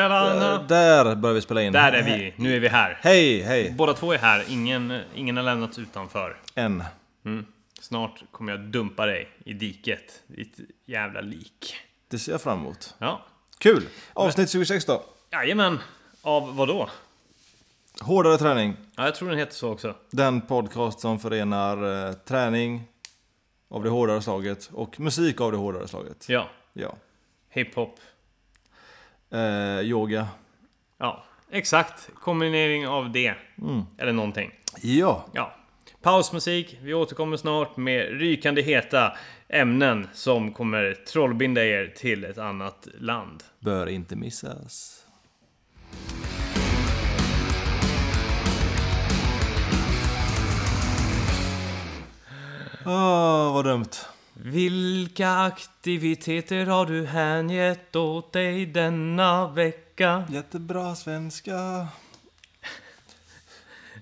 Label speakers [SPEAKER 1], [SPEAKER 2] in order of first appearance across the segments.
[SPEAKER 1] Äh,
[SPEAKER 2] Axlarna!
[SPEAKER 1] Där börjar vi spela in.
[SPEAKER 2] Där är vi, nu är vi här.
[SPEAKER 1] Hej, hej.
[SPEAKER 2] Båda två är här, ingen, ingen har lämnats utanför.
[SPEAKER 1] En.
[SPEAKER 2] Snart kommer jag dumpa dig i diket, ditt jävla lik.
[SPEAKER 1] Det ser jag fram emot.
[SPEAKER 2] Ja,
[SPEAKER 1] Kul! Avsnitt 26 då.
[SPEAKER 2] jajamän. Av vad då?
[SPEAKER 1] Hårdare träning.
[SPEAKER 2] Ja, jag tror den heter så också.
[SPEAKER 1] Den podcast som förenar eh, träning av det hårdare slaget och musik av det hårdare slaget.
[SPEAKER 2] Ja,
[SPEAKER 1] Ja.
[SPEAKER 2] hiphop.
[SPEAKER 1] Eh, yoga.
[SPEAKER 2] Ja, exakt. Kombinering av det. Eller någonting.
[SPEAKER 1] Ja.
[SPEAKER 2] Ja. Pausmusik. Vi återkommer snart med rykande heta ämnen som kommer trollbinda er till ett annat land.
[SPEAKER 1] Bör inte missas. Ah, vad dumt.
[SPEAKER 2] Vilka aktiviteter har du hängett åt dig denna vecka?
[SPEAKER 1] Jättebra svenska.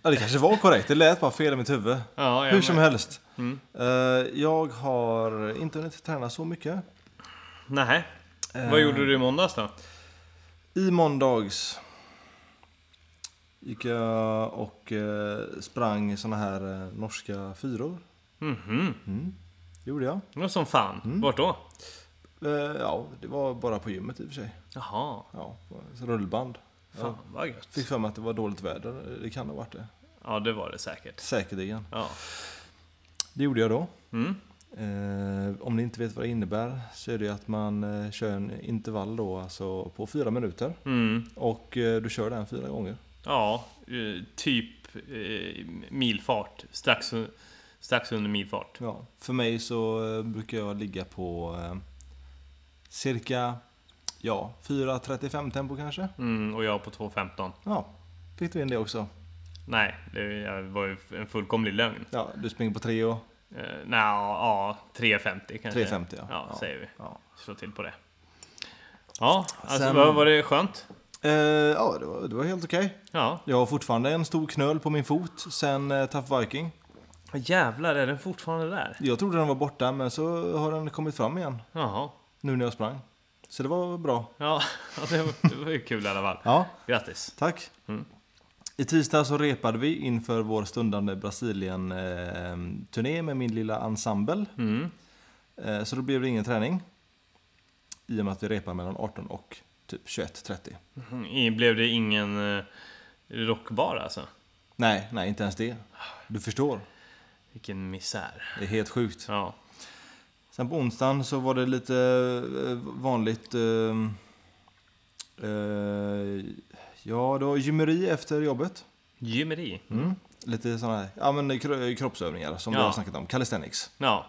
[SPEAKER 1] Ja, det kanske var korrekt. Det lät bara fel i mitt huvud.
[SPEAKER 2] Ja,
[SPEAKER 1] Hur som helst. Eh, jag har inte hunnit träna så mycket.
[SPEAKER 2] Nej. Vad gjorde du i måndags då?
[SPEAKER 1] I måndags gick jag och eh, sprang såna här eh, norska fyror.
[SPEAKER 2] Mhm.
[SPEAKER 1] Mm. gjorde jag.
[SPEAKER 2] Det var som fan.
[SPEAKER 1] Mm.
[SPEAKER 2] Vart då?
[SPEAKER 1] Eh, ja, det var bara på gymmet i och för sig.
[SPEAKER 2] Jaha.
[SPEAKER 1] Ja, på rullband.
[SPEAKER 2] Fan vad gött.
[SPEAKER 1] Fick för mig att det var dåligt väder. Det kan ha varit det.
[SPEAKER 2] Ja, det var det säkert.
[SPEAKER 1] Säkerligen.
[SPEAKER 2] Ja.
[SPEAKER 1] Det gjorde jag då.
[SPEAKER 2] Mm.
[SPEAKER 1] Eh, om ni inte vet vad det innebär så är det ju att man eh, kör en intervall då, alltså på fyra minuter.
[SPEAKER 2] Mm.
[SPEAKER 1] Och eh, du kör den fyra gånger.
[SPEAKER 2] Ja, eh, typ eh, milfart. Strax, un- strax under milfart.
[SPEAKER 1] Ja. För mig så eh, brukar jag ligga på eh, cirka ja, 4.35 tempo kanske.
[SPEAKER 2] Mm, och jag på 2.15.
[SPEAKER 1] Ja, fick du in det också.
[SPEAKER 2] Nej, det var ju en fullkomlig lögn.
[SPEAKER 1] Ja, du springer på 3 och
[SPEAKER 2] Uh, nej, ja, 3.50 kanske.
[SPEAKER 1] 3.50 ja.
[SPEAKER 2] Ja, säger vi.
[SPEAKER 1] Ja.
[SPEAKER 2] slå till på det. Ja, alltså
[SPEAKER 1] Sen-
[SPEAKER 2] var, var det skönt?
[SPEAKER 1] Eh, ja, det var, det var helt okej.
[SPEAKER 2] Ja.
[SPEAKER 1] Jag har fortfarande en stor knöl på min fot sen eh, Tough Viking.
[SPEAKER 2] Jävlar, är den fortfarande där?
[SPEAKER 1] Jag trodde den var borta men så har den kommit fram igen.
[SPEAKER 2] Jaha.
[SPEAKER 1] Nu när jag sprang. Så det var bra.
[SPEAKER 2] Ja, ja, det var, det var ju kul i alla fall.
[SPEAKER 1] Ja,
[SPEAKER 2] Grattis.
[SPEAKER 1] tack.
[SPEAKER 2] Mm.
[SPEAKER 1] I tisdag så repade vi inför vår stundande Brasilien-turné med min lilla ensemble.
[SPEAKER 2] Mm.
[SPEAKER 1] Eh, Så då blev det ingen träning. I och med att vi repar mellan 18 och typ 21.30.
[SPEAKER 2] I- Blev det ingen eh, rockbar alltså?
[SPEAKER 1] Nej, nej, inte ens det. Du förstår.
[SPEAKER 2] Vilken misär.
[SPEAKER 1] Det är helt sjukt.
[SPEAKER 2] Ja.
[SPEAKER 1] Sen på onsdagen så var det lite eh, vanligt... eh, eh, Ja, det var gymmeri efter jobbet.
[SPEAKER 2] Gymmeri.
[SPEAKER 1] Mm. Lite sådana här ja, men kro- kroppsövningar som vi
[SPEAKER 2] Ja.
[SPEAKER 1] har snackat om. Calisthenics.
[SPEAKER 2] Ja.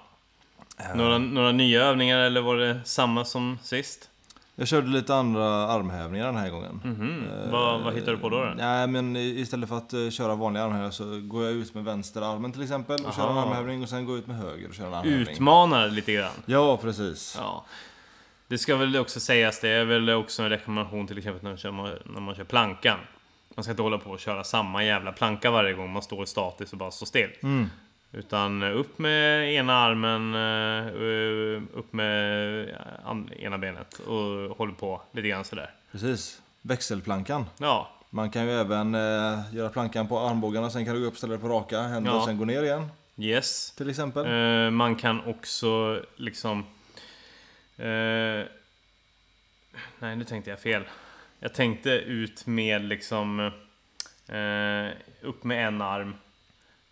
[SPEAKER 2] Några, några nya övningar eller var det samma som sist?
[SPEAKER 1] Jag körde lite andra armhävningar den här gången.
[SPEAKER 2] Mhm.
[SPEAKER 1] Eh,
[SPEAKER 2] vad, vad hittar du på då? då?
[SPEAKER 1] Nej, men i- istället för att eh, köra vanliga armhävningar så går jag ut med vänsterarmen till exempel och kör en
[SPEAKER 2] Aha.
[SPEAKER 1] armhävning och sen går jag ut med höger och kör en armhävning.
[SPEAKER 2] Utmanar lite grann.
[SPEAKER 1] ja, precis.
[SPEAKER 2] Ja. Det ska väl också sägas, det är väl också en rekommendation till exempel när man kör, när man kör plankan. Man ska inte hålla på och köra samma jävla planka varje gång man står statiskt och bara står still.
[SPEAKER 1] Mm.
[SPEAKER 2] Utan eh, upp med ena armen, eh, upp med eh, an- ena benet och håller på lite grann sådär.
[SPEAKER 1] Precis. Växelplankan.
[SPEAKER 2] Ja,
[SPEAKER 1] Man kan ju även eh, göra plankan på armbågarna, sen kan du gå upp och ställa dig på raka händer
[SPEAKER 2] Ja.
[SPEAKER 1] och sen gå ner igen
[SPEAKER 2] yes.
[SPEAKER 1] till exempel.
[SPEAKER 2] Eh, man kan också liksom... Eh, nej, nu tänkte jag fel. Jag tänkte ut med liksom... Eh, upp med en arm.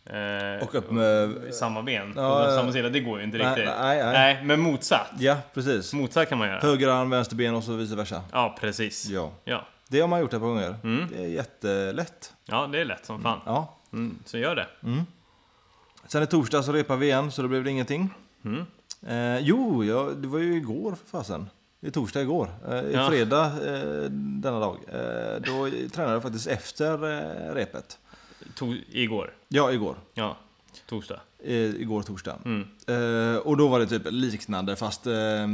[SPEAKER 2] eh,
[SPEAKER 1] Och upp med...
[SPEAKER 2] i samma ben.
[SPEAKER 1] Ja,
[SPEAKER 2] och
[SPEAKER 1] ja.
[SPEAKER 2] samma sida, det går ju inte
[SPEAKER 1] Nej,
[SPEAKER 2] riktigt.
[SPEAKER 1] nej, nej.
[SPEAKER 2] men motsatt.
[SPEAKER 1] Ja, precis.
[SPEAKER 2] Motsatt kan man göra.
[SPEAKER 1] Höger arm, vänster ben och så vice versa.
[SPEAKER 2] Ja, precis. Ja.
[SPEAKER 1] Ja.
[SPEAKER 2] Ja,
[SPEAKER 1] Det har man gjort ett par gånger.
[SPEAKER 2] Mm.
[SPEAKER 1] Det är jättelätt.
[SPEAKER 2] det är lätt som fan.
[SPEAKER 1] Ja.
[SPEAKER 2] Mm, så gör det.
[SPEAKER 1] Sen i torsdag så repar vi igen, så då blev det ingenting.
[SPEAKER 2] Mm.
[SPEAKER 1] Eh, jo, jag, det var ju igår för fasen. Det är torsdag igår. Eh, i
[SPEAKER 2] Ja.
[SPEAKER 1] Fredag eh, denna dag. Eh, då tränade jag faktiskt efter eh, repet.
[SPEAKER 2] To- igår.
[SPEAKER 1] Ja, igår.
[SPEAKER 2] Ja, torsdag.
[SPEAKER 1] Eh, igår torsdag.
[SPEAKER 2] Mm.
[SPEAKER 1] Eh, och då var det typ liknande fast eh,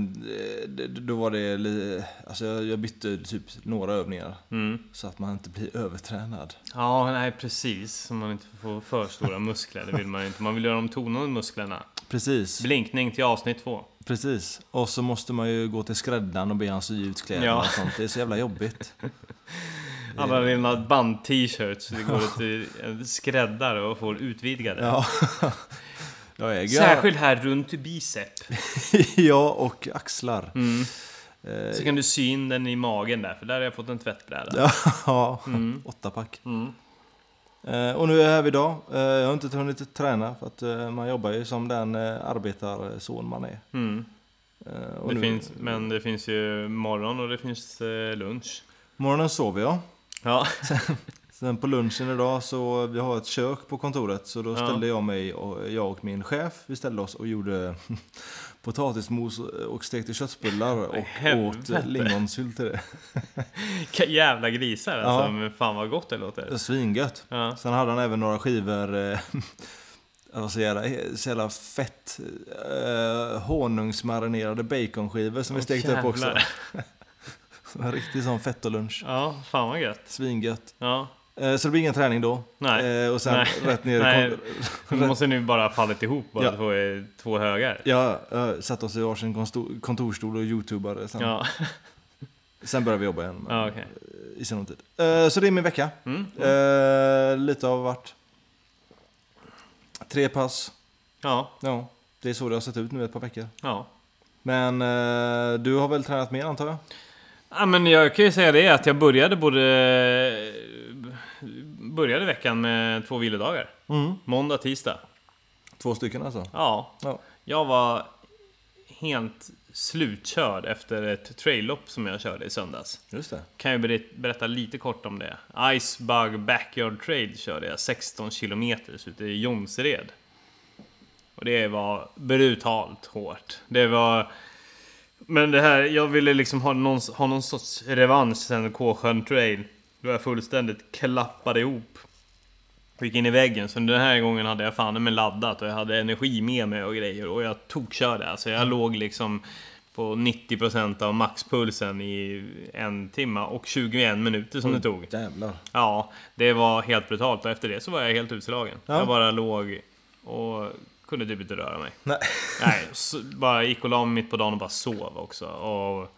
[SPEAKER 1] d- då var det li- alltså jag, jag bytte typ några övningar
[SPEAKER 2] Mm.
[SPEAKER 1] så att man inte blir övertränad.
[SPEAKER 2] Ja, nej precis. Så man inte får för stora muskler. Det vill man ju inte. Man vill göra de tonade musklerna.
[SPEAKER 1] Precis.
[SPEAKER 2] Blinkning till avsnitt två.
[SPEAKER 1] Precis. Och så måste man ju gå till skräddaren och be han sy ut kläderna
[SPEAKER 2] Ja.
[SPEAKER 1] och sånt. Det är så jävla jobbigt.
[SPEAKER 2] Alla dina band-t-shirts, det går till en skräddare och får utvidgade.
[SPEAKER 1] Ja. Jag äger ju-
[SPEAKER 2] Särskilt här runt bicep. Mm.
[SPEAKER 1] ja, och axlar. Eh,
[SPEAKER 2] Så kan du sy in den i magen där, för där har jag fått en tvättbräda.
[SPEAKER 1] Ja,
[SPEAKER 2] Mm.
[SPEAKER 1] åtta pack. Eh, Och nu är jag här idag. Eh, Jag har inte hunnit träna för att eh, man jobbar ju som den eh, arbetarson man är.
[SPEAKER 2] Mm.
[SPEAKER 1] Eh, Och
[SPEAKER 2] Det
[SPEAKER 1] nu,
[SPEAKER 2] finns, men det finns ju morgon och det finns eh, lunch.
[SPEAKER 1] Morgonen sover jag.
[SPEAKER 2] Ja,
[SPEAKER 1] Sen på lunchen idag så vi har ett kök på kontoret så då
[SPEAKER 2] Ja.
[SPEAKER 1] ställde jag mig och jag och min chef, vi ställde oss och gjorde potatismos och stekte köttbullar och åt
[SPEAKER 2] helvete.
[SPEAKER 1] eh, lingonsylt till det.
[SPEAKER 2] vilka jävla grisar alltså.
[SPEAKER 1] Ja.
[SPEAKER 2] Men fan vad gott det
[SPEAKER 1] Det var
[SPEAKER 2] låter.
[SPEAKER 1] Svingött.
[SPEAKER 2] Ja.
[SPEAKER 1] Sen hade han även några skivor, eh, alltså så jävla, så jävla fett, eh, honungsmarinerade baconskivor som vi
[SPEAKER 2] Åh,
[SPEAKER 1] stekte upp också.
[SPEAKER 2] jävlar.
[SPEAKER 1] En riktig sån fettolunch.
[SPEAKER 2] Ja, fan vad gött.
[SPEAKER 1] Svingött.
[SPEAKER 2] Ja.
[SPEAKER 1] Eh, så det blir ingen träning då.
[SPEAKER 2] Nej.
[SPEAKER 1] Eh, och sen
[SPEAKER 2] Nej.
[SPEAKER 1] rätt ner i
[SPEAKER 2] Nej.
[SPEAKER 1] kon-
[SPEAKER 2] Nu måste nu bara ha fallit ihop bara
[SPEAKER 1] Ja.
[SPEAKER 2] två, eh, två högar.
[SPEAKER 1] Ja, eh, satt oss i varsin konsto- kontorsstol och youtubade. Sen,
[SPEAKER 2] Ja,
[SPEAKER 1] sen började vi jobba igen. men,
[SPEAKER 2] ja okej.
[SPEAKER 1] eh, I sinom tid. Eh, så det är min vecka.
[SPEAKER 2] Mm.
[SPEAKER 1] Eh, lite av vart. Tre pass.
[SPEAKER 2] Ja,
[SPEAKER 1] Ja, det är så det har sett ut nu ett par veckor.
[SPEAKER 2] ja.
[SPEAKER 1] Men eh, du har väl tränat mer antar jag?
[SPEAKER 2] Ja, men jag kan ju säga det att jag började både... Började veckan med två vilodagar.
[SPEAKER 1] Mm.
[SPEAKER 2] Måndag, tisdag.
[SPEAKER 1] Två stycken alltså?
[SPEAKER 2] Ja.
[SPEAKER 1] Ja.
[SPEAKER 2] Jag var helt slutkörd efter ett traillopp som jag körde i söndags.
[SPEAKER 1] Just det.
[SPEAKER 2] Kan jag berätt- berätta lite kort om det. Icebug Backyard Trail körde jag 16 kilometer ute i Jonsered. Och det var brutalt hårt. Det var... Men det här, jag ville liksom ha någon, ha någon sorts revansch sen K-sjön trail. Då jag fullständigt klappade ihop. Gick in i väggen. Så den här gången hade jag fan i mig laddat och jag hade energi med mig och grejer. Och jag tokkörde. Alltså jag låg liksom på 90% av maxpulsen i en timma och 21 minuter som det tog.
[SPEAKER 1] Jävlar.
[SPEAKER 2] Ja, det var helt brutalt och efter det så var jag helt utslagen.
[SPEAKER 1] Ja.
[SPEAKER 2] Jag bara låg och kunde typ inte röra mig.
[SPEAKER 1] Nej.
[SPEAKER 2] Nej, så bara gick och la mig mitt på dagen och bara sov också. Och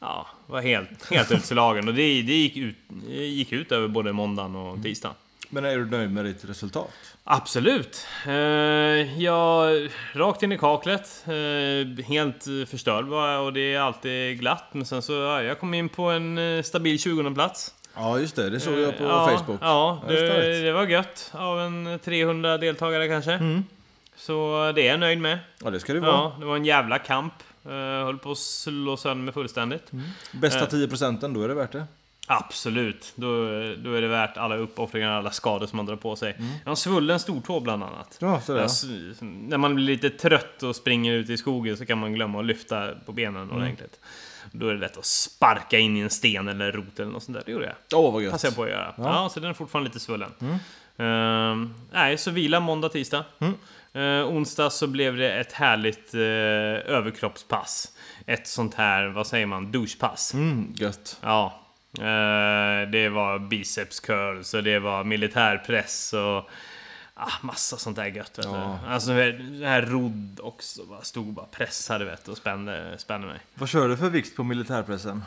[SPEAKER 2] ja, var helt, helt utslagen. Och det, det gick, ut, det gick ut över både måndagen och tisdagen.
[SPEAKER 1] Men är du nöjd med ditt resultat?
[SPEAKER 2] Absolut. Eh, Jag rakt in i kaklet. eh, Helt eh, förstörd bara och det är alltid glatt. Men sen så, ja, jag kom in på en eh, stabil 20 plats.
[SPEAKER 1] Ja, just det. Det såg jag på
[SPEAKER 2] Eh, ja,
[SPEAKER 1] Facebook.
[SPEAKER 2] Ja,
[SPEAKER 1] det är
[SPEAKER 2] det,
[SPEAKER 1] starkt.
[SPEAKER 2] det var gött av en 300 deltagare kanske. Så det är jag nöjd med.
[SPEAKER 1] Ja, det ska det vara.
[SPEAKER 2] Ja, det var en jävla kamp. Eh, höll på att slå sönder mig fullständigt.
[SPEAKER 1] Mm.
[SPEAKER 2] Eh.
[SPEAKER 1] Bästa 10 procenten, då är det värt det.
[SPEAKER 2] Absolut, då, då är det värt alla uppoffringar och alla skador som man drar på sig. Jag har en svullen stortå bland annat.
[SPEAKER 1] Mm. Ja, så det.
[SPEAKER 2] Jag s- när man blir lite trött och springer ut i skogen så kan man glömma att lyfta på benen
[SPEAKER 1] Mm.
[SPEAKER 2] ordentligt. Då är det lätt att sparka in i en sten eller en rot eller något sånt där. Det gjorde jag.
[SPEAKER 1] Åh, vad gött. Mm.
[SPEAKER 2] passar jag på att göra. Ja. så den är fortfarande lite svullen. Ehm, nej, så vila måndag, tisdag. Ehm, onsdag så blev det ett härligt eh, överkroppspass. Ett sånt här, vad säger man, douchepass.
[SPEAKER 1] Mm, gött.
[SPEAKER 2] Ja. Eh, det var biceps curls och det var militärpress och ah, massa sånt där gött. Vet
[SPEAKER 1] Ja.
[SPEAKER 2] du. Alltså det här rodd också. Bara stod och bara pressade vet, du, och spände, spände mig.
[SPEAKER 1] Vad kör du för vikt på militärpressen?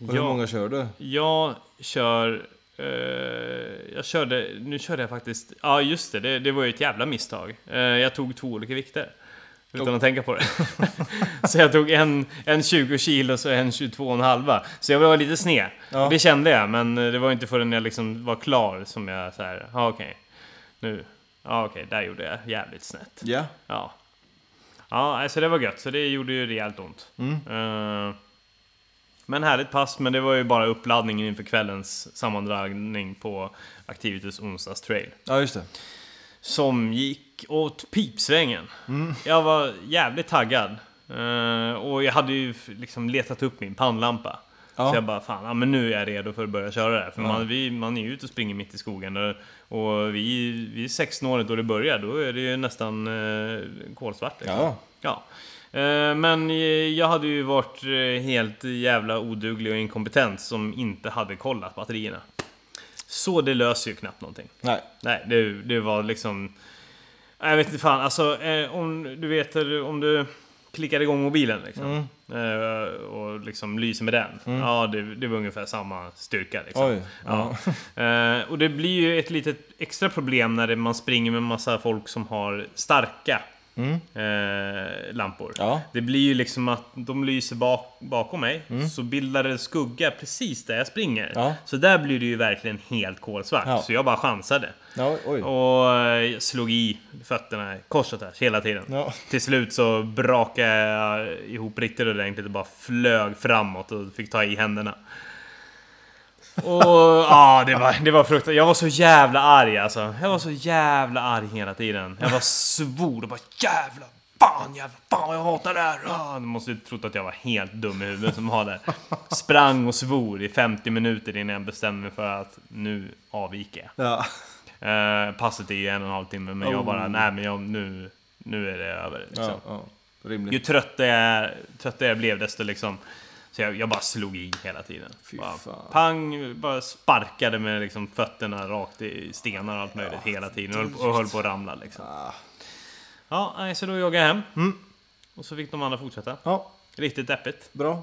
[SPEAKER 1] Och Hur
[SPEAKER 2] Ja.
[SPEAKER 1] många kör du?
[SPEAKER 2] Jag kör... eh, jag körde... Nu körde jag faktiskt... Ja, just det, det. Det var ju ett jävla misstag. Eh, jag tog två olika vikter. Utan att tänka på det. så jag tog en, en 20 kilo och en 22,5. Så jag var lite sned.
[SPEAKER 1] Ja.
[SPEAKER 2] Det kände jag, men det var inte förrän jag liksom var klar som jag så här... Ja, okej. Nu... Ja, okej. där gjorde jag jävligt snett.
[SPEAKER 1] Ja.
[SPEAKER 2] Ja. Ja, alltså det var gött. Så det gjorde ju rejält ont. Eh, men härligt pass, men det var ju bara uppladdningen inför kvällens sammandragning på Activitus onsdags trail.
[SPEAKER 1] Ja, just det.
[SPEAKER 2] Som gick åt pipsvängen. Jag var jävligt taggad. Eh, och jag hade ju f- liksom letat upp min pannlampa.
[SPEAKER 1] Ja.
[SPEAKER 2] Så jag bara, fan, ja, men nu är jag redo för att börja köra det här. För man, vi, man är ju ute och springer mitt i skogen. Och, och vi, vi är 16-året då det börjar, då är det ju nästan eh, kolsvart. liksom.
[SPEAKER 1] Ja.
[SPEAKER 2] Ja. Eh, Men eh, jag hade ju varit eh, helt jävla oduglig och inkompetent som inte hade kollat batterierna. Så det löser ju knappt någonting.
[SPEAKER 1] Nej.
[SPEAKER 2] Nej, det, det var liksom... Nej, Jag vet inte fan, alltså eh, om du vet om du klickar igång mobilen liksom. Eh, och liksom lyser med den. Ja, det, det var ungefär samma styrka liksom.
[SPEAKER 1] Oj.
[SPEAKER 2] Ja. Eh, och det blir ju ett litet extra problem när det, man springer med massa folk som har starka
[SPEAKER 1] Mm.
[SPEAKER 2] eh, lampor.
[SPEAKER 1] Ja.
[SPEAKER 2] Det blir ju liksom att de lyser bak, bakom mig, så bildar det skugga precis där jag springer.
[SPEAKER 1] Mm. Ja.
[SPEAKER 2] Så där blir det ju verkligen helt kolsvart.
[SPEAKER 1] Ja.
[SPEAKER 2] Så jag bara chansade.
[SPEAKER 1] Ja, oj.
[SPEAKER 2] Och eh, jag slog i fötterna kors och tvärs hela tiden.
[SPEAKER 1] Ja.
[SPEAKER 2] Till slut så brakade jag ihop riktigt ordentligt och bara flög framåt och fick ta i händerna. Och ja, det var, det var fruktansvärt. Jag var så jävla arg alltså. Jag var så jävla arg hela tiden. Jag var svor och bara jävla fan, jävla fan vad jag hatar det här. Ah, De måste ju trott att jag var helt dum i huvudet som var där. Sprang och svor i 50 minuter innan jag bestämde mig för att nu avviker jag.
[SPEAKER 1] Ja.
[SPEAKER 2] Eh, passet är ju en och en halv timme, men jag bara, nej men jag, nu, nu är det över. Liksom.
[SPEAKER 1] Ja, ja. Rimligt.
[SPEAKER 2] Ju tröttare jag, tröttare jag blev, desto liksom... Så jag, jag bara slog i hela tiden.
[SPEAKER 1] Fy
[SPEAKER 2] Bara,
[SPEAKER 1] fan.
[SPEAKER 2] pang, bara sparkade med liksom fötterna rakt i stenar och allt möjligt hela tiden. Och höll, och höll på att ramla liksom.
[SPEAKER 1] Ah.
[SPEAKER 2] Ja, nej, så då joggade jag hem. Mm. Och så fick de andra fortsätta.
[SPEAKER 1] Ja,
[SPEAKER 2] Riktigt deppigt.
[SPEAKER 1] bra.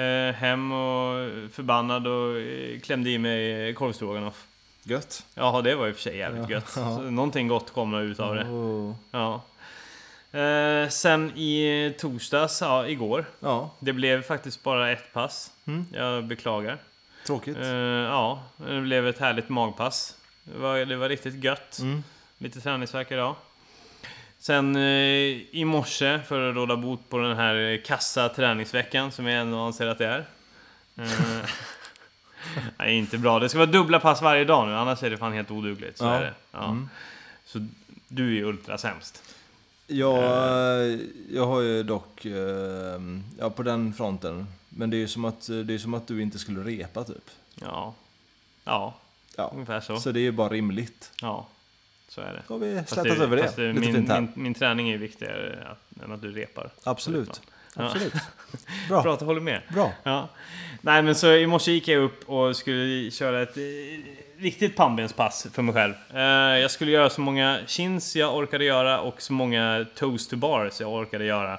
[SPEAKER 2] Eh, hem och förbannad och eh, klämde i mig korvstroganoff.
[SPEAKER 1] Gött.
[SPEAKER 2] Ja, det var i och för sig jävligt gött. Så någonting gott kommer ut av det.
[SPEAKER 1] Oh.
[SPEAKER 2] Ja. Eh, sen i torsdags, ja igår.
[SPEAKER 1] Ja,
[SPEAKER 2] Det blev faktiskt bara ett pass.
[SPEAKER 1] Mm.
[SPEAKER 2] Jag beklagar.
[SPEAKER 1] tråkigt.
[SPEAKER 2] Eh, ja, det blev ett härligt magpass. Det var, det var riktigt gött.
[SPEAKER 1] Mm.
[SPEAKER 2] Lite träningsvärk idag. Sen eh, i morse, för att råda bot på den här eh, kassa träningsveckan som jag ändå anser att det är. Eh, nej, inte bra. Det ska vara dubbla pass varje dag nu, annars är det fan helt odugligt. Så,
[SPEAKER 1] Ja. Mm.
[SPEAKER 2] är det. Ja. så du är ju ultra sämst.
[SPEAKER 1] Jag,
[SPEAKER 2] Eh.
[SPEAKER 1] eh, jag har ju dock, eh, ja på den fronten. Men det är ju som att, det är som att du inte skulle repa typ.
[SPEAKER 2] Ja. Ja,
[SPEAKER 1] Ja.
[SPEAKER 2] ungefär så.
[SPEAKER 1] Så det är ju bara rimligt.
[SPEAKER 2] Ja, så är det.
[SPEAKER 1] Då har vi
[SPEAKER 2] Fast
[SPEAKER 1] slätat över det.
[SPEAKER 2] fast
[SPEAKER 1] Lite
[SPEAKER 2] min,
[SPEAKER 1] fint här.
[SPEAKER 2] min, min träning är viktigare att- än att du repar.
[SPEAKER 1] Absolut.
[SPEAKER 2] Ja.
[SPEAKER 1] Absolut. Bra.
[SPEAKER 2] Bra
[SPEAKER 1] Bra.
[SPEAKER 2] att du håller med. Ja. Nej men så i morse gick jag upp och skulle köra ett eh, riktigt pannbenspass för mig själv. Eh, jag skulle göra så många chins jag orkade göra och så många toes to bars jag orkade göra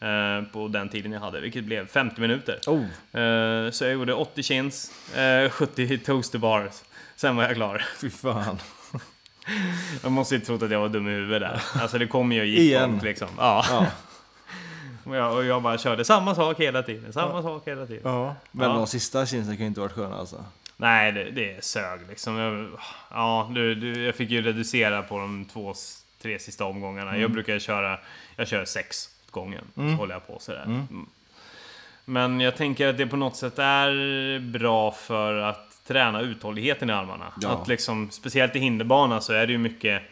[SPEAKER 2] eh, på den tiden jag hade, vilket blev 50 minuter.
[SPEAKER 1] Oh.
[SPEAKER 2] Eh, så jag gjorde 80 chins, eh, 70 toes to bars. Sen var jag klar.
[SPEAKER 1] Fy fan.
[SPEAKER 2] Jag måste ju trott att jag var dum i huvudet där. Alltså det kom ju och gick
[SPEAKER 1] Igen.
[SPEAKER 2] folk liksom. Ja.
[SPEAKER 1] Ja.
[SPEAKER 2] Och, jag, och jag bara körde samma sak hela tiden, samma sak hela tiden.
[SPEAKER 1] ja. Men
[SPEAKER 2] Ja.
[SPEAKER 1] de sista kinsen kan ju inte varit sköna alltså.
[SPEAKER 2] Nej, det, det sög liksom. Jag, ja, du, du, jag fick ju reducera på de två, s- tre sista omgångarna.
[SPEAKER 1] Mm.
[SPEAKER 2] Jag brukar köra, jag kör sex åt gången. Så håller jag på sådär. Mm. Men jag tänker att det på något sätt är bra för att träna uthålligheten i armarna.
[SPEAKER 1] Ja.
[SPEAKER 2] Att liksom, speciellt i hinderbana så är det ju mycket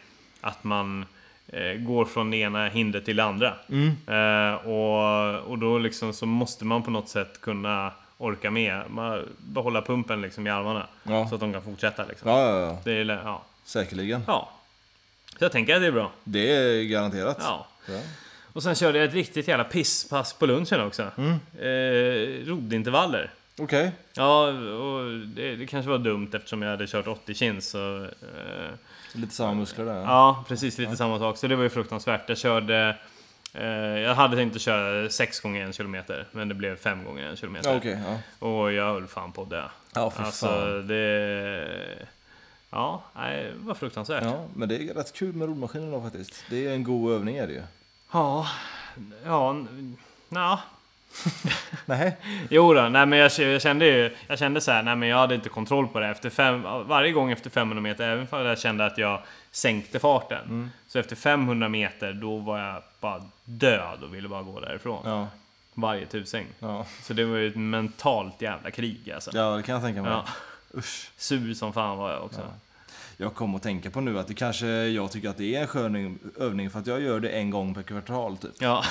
[SPEAKER 2] att man eh, går från det ena hindret till det andra.
[SPEAKER 1] Mm.
[SPEAKER 2] Eh, och, och då liksom så måste man på något sätt kunna orka med, man, behålla pumpen liksom i armarna.
[SPEAKER 1] Ja.
[SPEAKER 2] Så att de kan fortsätta liksom.
[SPEAKER 1] Ja, ja, ja.
[SPEAKER 2] Det är, ja.
[SPEAKER 1] Säkerligen.
[SPEAKER 2] ja. Så jag tänker att det är bra.
[SPEAKER 1] Det är garanterat.
[SPEAKER 2] Ja.
[SPEAKER 1] Ja.
[SPEAKER 2] Och sen körde jag ett riktigt jävla pisspass på lunchen också.
[SPEAKER 1] Mm.
[SPEAKER 2] Eh, roddintervaller.
[SPEAKER 1] Okej.
[SPEAKER 2] Ja, och det, det kanske var dumt eftersom jag hade kört 80 chins. Så, eh,
[SPEAKER 1] Lite samma muskler där.
[SPEAKER 2] Ja, precis. Lite samma sak. Så det var ju fruktansvärt. Jag körde... Eh, jag hade tänkt att köra 6 gånger en kilometer, men det blev 5 gånger en kilometer.
[SPEAKER 1] Ja, okej. Ja.
[SPEAKER 2] Och jag höll fan på det.
[SPEAKER 1] Ja, för fan.
[SPEAKER 2] Alltså, det... Ja, nej, det var fruktansvärt. Ja.
[SPEAKER 1] Ja, men det är rätt kul med roddmaskinen då faktiskt. Det är en god övning är det ju.
[SPEAKER 2] Ja... n- nja.
[SPEAKER 1] Nej.
[SPEAKER 2] Jo då, nej men jag, jag kände ju, jag kände så här, nej men jag hade inte kontroll på det efter fem, varje gång efter 500 meter, även om jag kände att jag sänkte farten.
[SPEAKER 1] Mm.
[SPEAKER 2] Så efter 500 meter, då var jag bara död och ville bara gå därifrån.
[SPEAKER 1] Ja.
[SPEAKER 2] Varje tusing.
[SPEAKER 1] Ja.
[SPEAKER 2] Så det var ju ett mentalt jävla krig alltså.
[SPEAKER 1] ja, det kan jag tänka mig.
[SPEAKER 2] Ja.
[SPEAKER 1] Usch.
[SPEAKER 2] Sur som fan var jag också.
[SPEAKER 1] Jag kom att tänka på nu att det kanske jag tycker att det är en skön övning för att jag gör det en gång per kvartal typ.
[SPEAKER 2] Ja.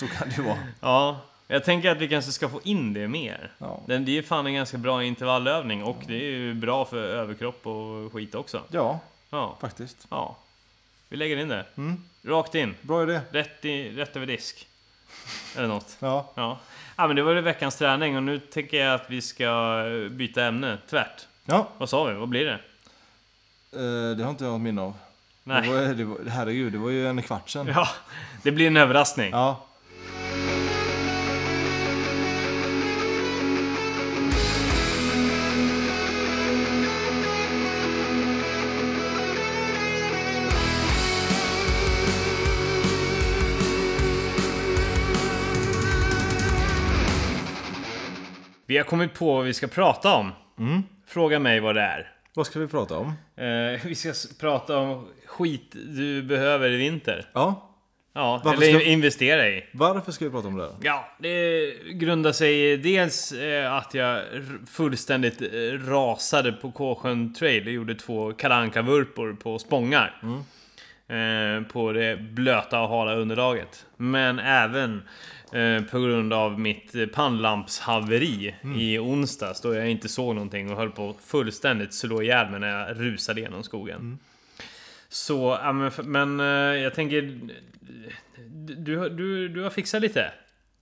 [SPEAKER 1] Så kan det vara.
[SPEAKER 2] ja. Jag tänker att vi kanske ska få in det mer.
[SPEAKER 1] Ja.
[SPEAKER 2] Den, det är ju fan en ganska bra intervallövning och det är ju bra för överkropp och skit också.
[SPEAKER 1] Ja,
[SPEAKER 2] Ja.
[SPEAKER 1] faktiskt. Mm,
[SPEAKER 2] Ja. Vi lägger in det. Rakt in.
[SPEAKER 1] Bra idé.
[SPEAKER 2] Rätt, i, rätt över disk. Eller något.
[SPEAKER 1] Ja.
[SPEAKER 2] Ja. ja, men det var ju veckans träning och nu tänker jag att vi ska byta ämne tvärt.
[SPEAKER 1] Ja,
[SPEAKER 2] Vad sa vi? Vad blir det?
[SPEAKER 1] eh, det har inte jag något minne av. Nej. Det var, det var, herregud, det var ju en kvart sedan.
[SPEAKER 2] Ja, det blir en överraskning.
[SPEAKER 1] Ja.
[SPEAKER 2] Vi har kommit på vad vi ska prata om.
[SPEAKER 1] Mm.
[SPEAKER 2] Fråga mig vad det är.
[SPEAKER 1] Vad ska vi prata om?
[SPEAKER 2] Eh, vi ska s- prata om skit du behöver i vinter.
[SPEAKER 1] Ja.
[SPEAKER 2] Ja,
[SPEAKER 1] Varför
[SPEAKER 2] eller
[SPEAKER 1] ska-
[SPEAKER 2] investera i.
[SPEAKER 1] Varför ska vi prata om det? här?
[SPEAKER 2] Ja, det grundar sig i dels eh, att jag r- fullständigt eh, rasade på Kåsjön Trail. Jag gjorde två kalanka vurpor på spångar. Eh, På det blöta och hala underlaget. Men även eh, på grund av mitt eh, pannlampshaveri i onsdags då jag inte såg någonting och höll på att fullständigt slå ihjäl mig när jag rusade genom skogen. Så, ja, men, f- men eh, jag tänker... Du, du, du, du har fixat lite.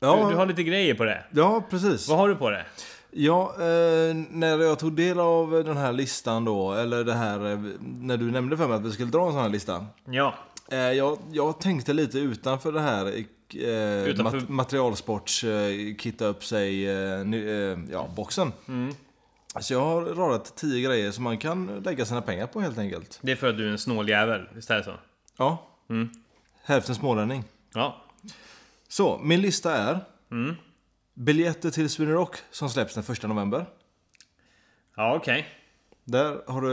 [SPEAKER 1] Ja,
[SPEAKER 2] Du, du har lite grejer på det.
[SPEAKER 1] ja precis.
[SPEAKER 2] Vad har du på det?
[SPEAKER 1] Ja, eh, när jag tog del av den här listan då, eller det här, eh, när du nämnde för mig att vi skulle dra en sån här lista.
[SPEAKER 2] Ja.
[SPEAKER 1] Eh, jag, jag tänkte lite utanför det här eh,
[SPEAKER 2] Utanför-
[SPEAKER 1] Mat, materialsports, eh, kitta upp sig, eh, ny, eh, ja, boxen.
[SPEAKER 2] Mm.
[SPEAKER 1] Så jag har radat tio grejer som man kan lägga sina pengar på helt enkelt.
[SPEAKER 2] Det är för att du är en snål jävel, visst är det så?
[SPEAKER 1] Ja,
[SPEAKER 2] Mm.
[SPEAKER 1] hälften smålänning.
[SPEAKER 2] Ja.
[SPEAKER 1] Så, min lista är
[SPEAKER 2] Mm.
[SPEAKER 1] biljetter till Sweden Rock som släpps den 1 november.
[SPEAKER 2] Ja, okej.
[SPEAKER 1] Där har du...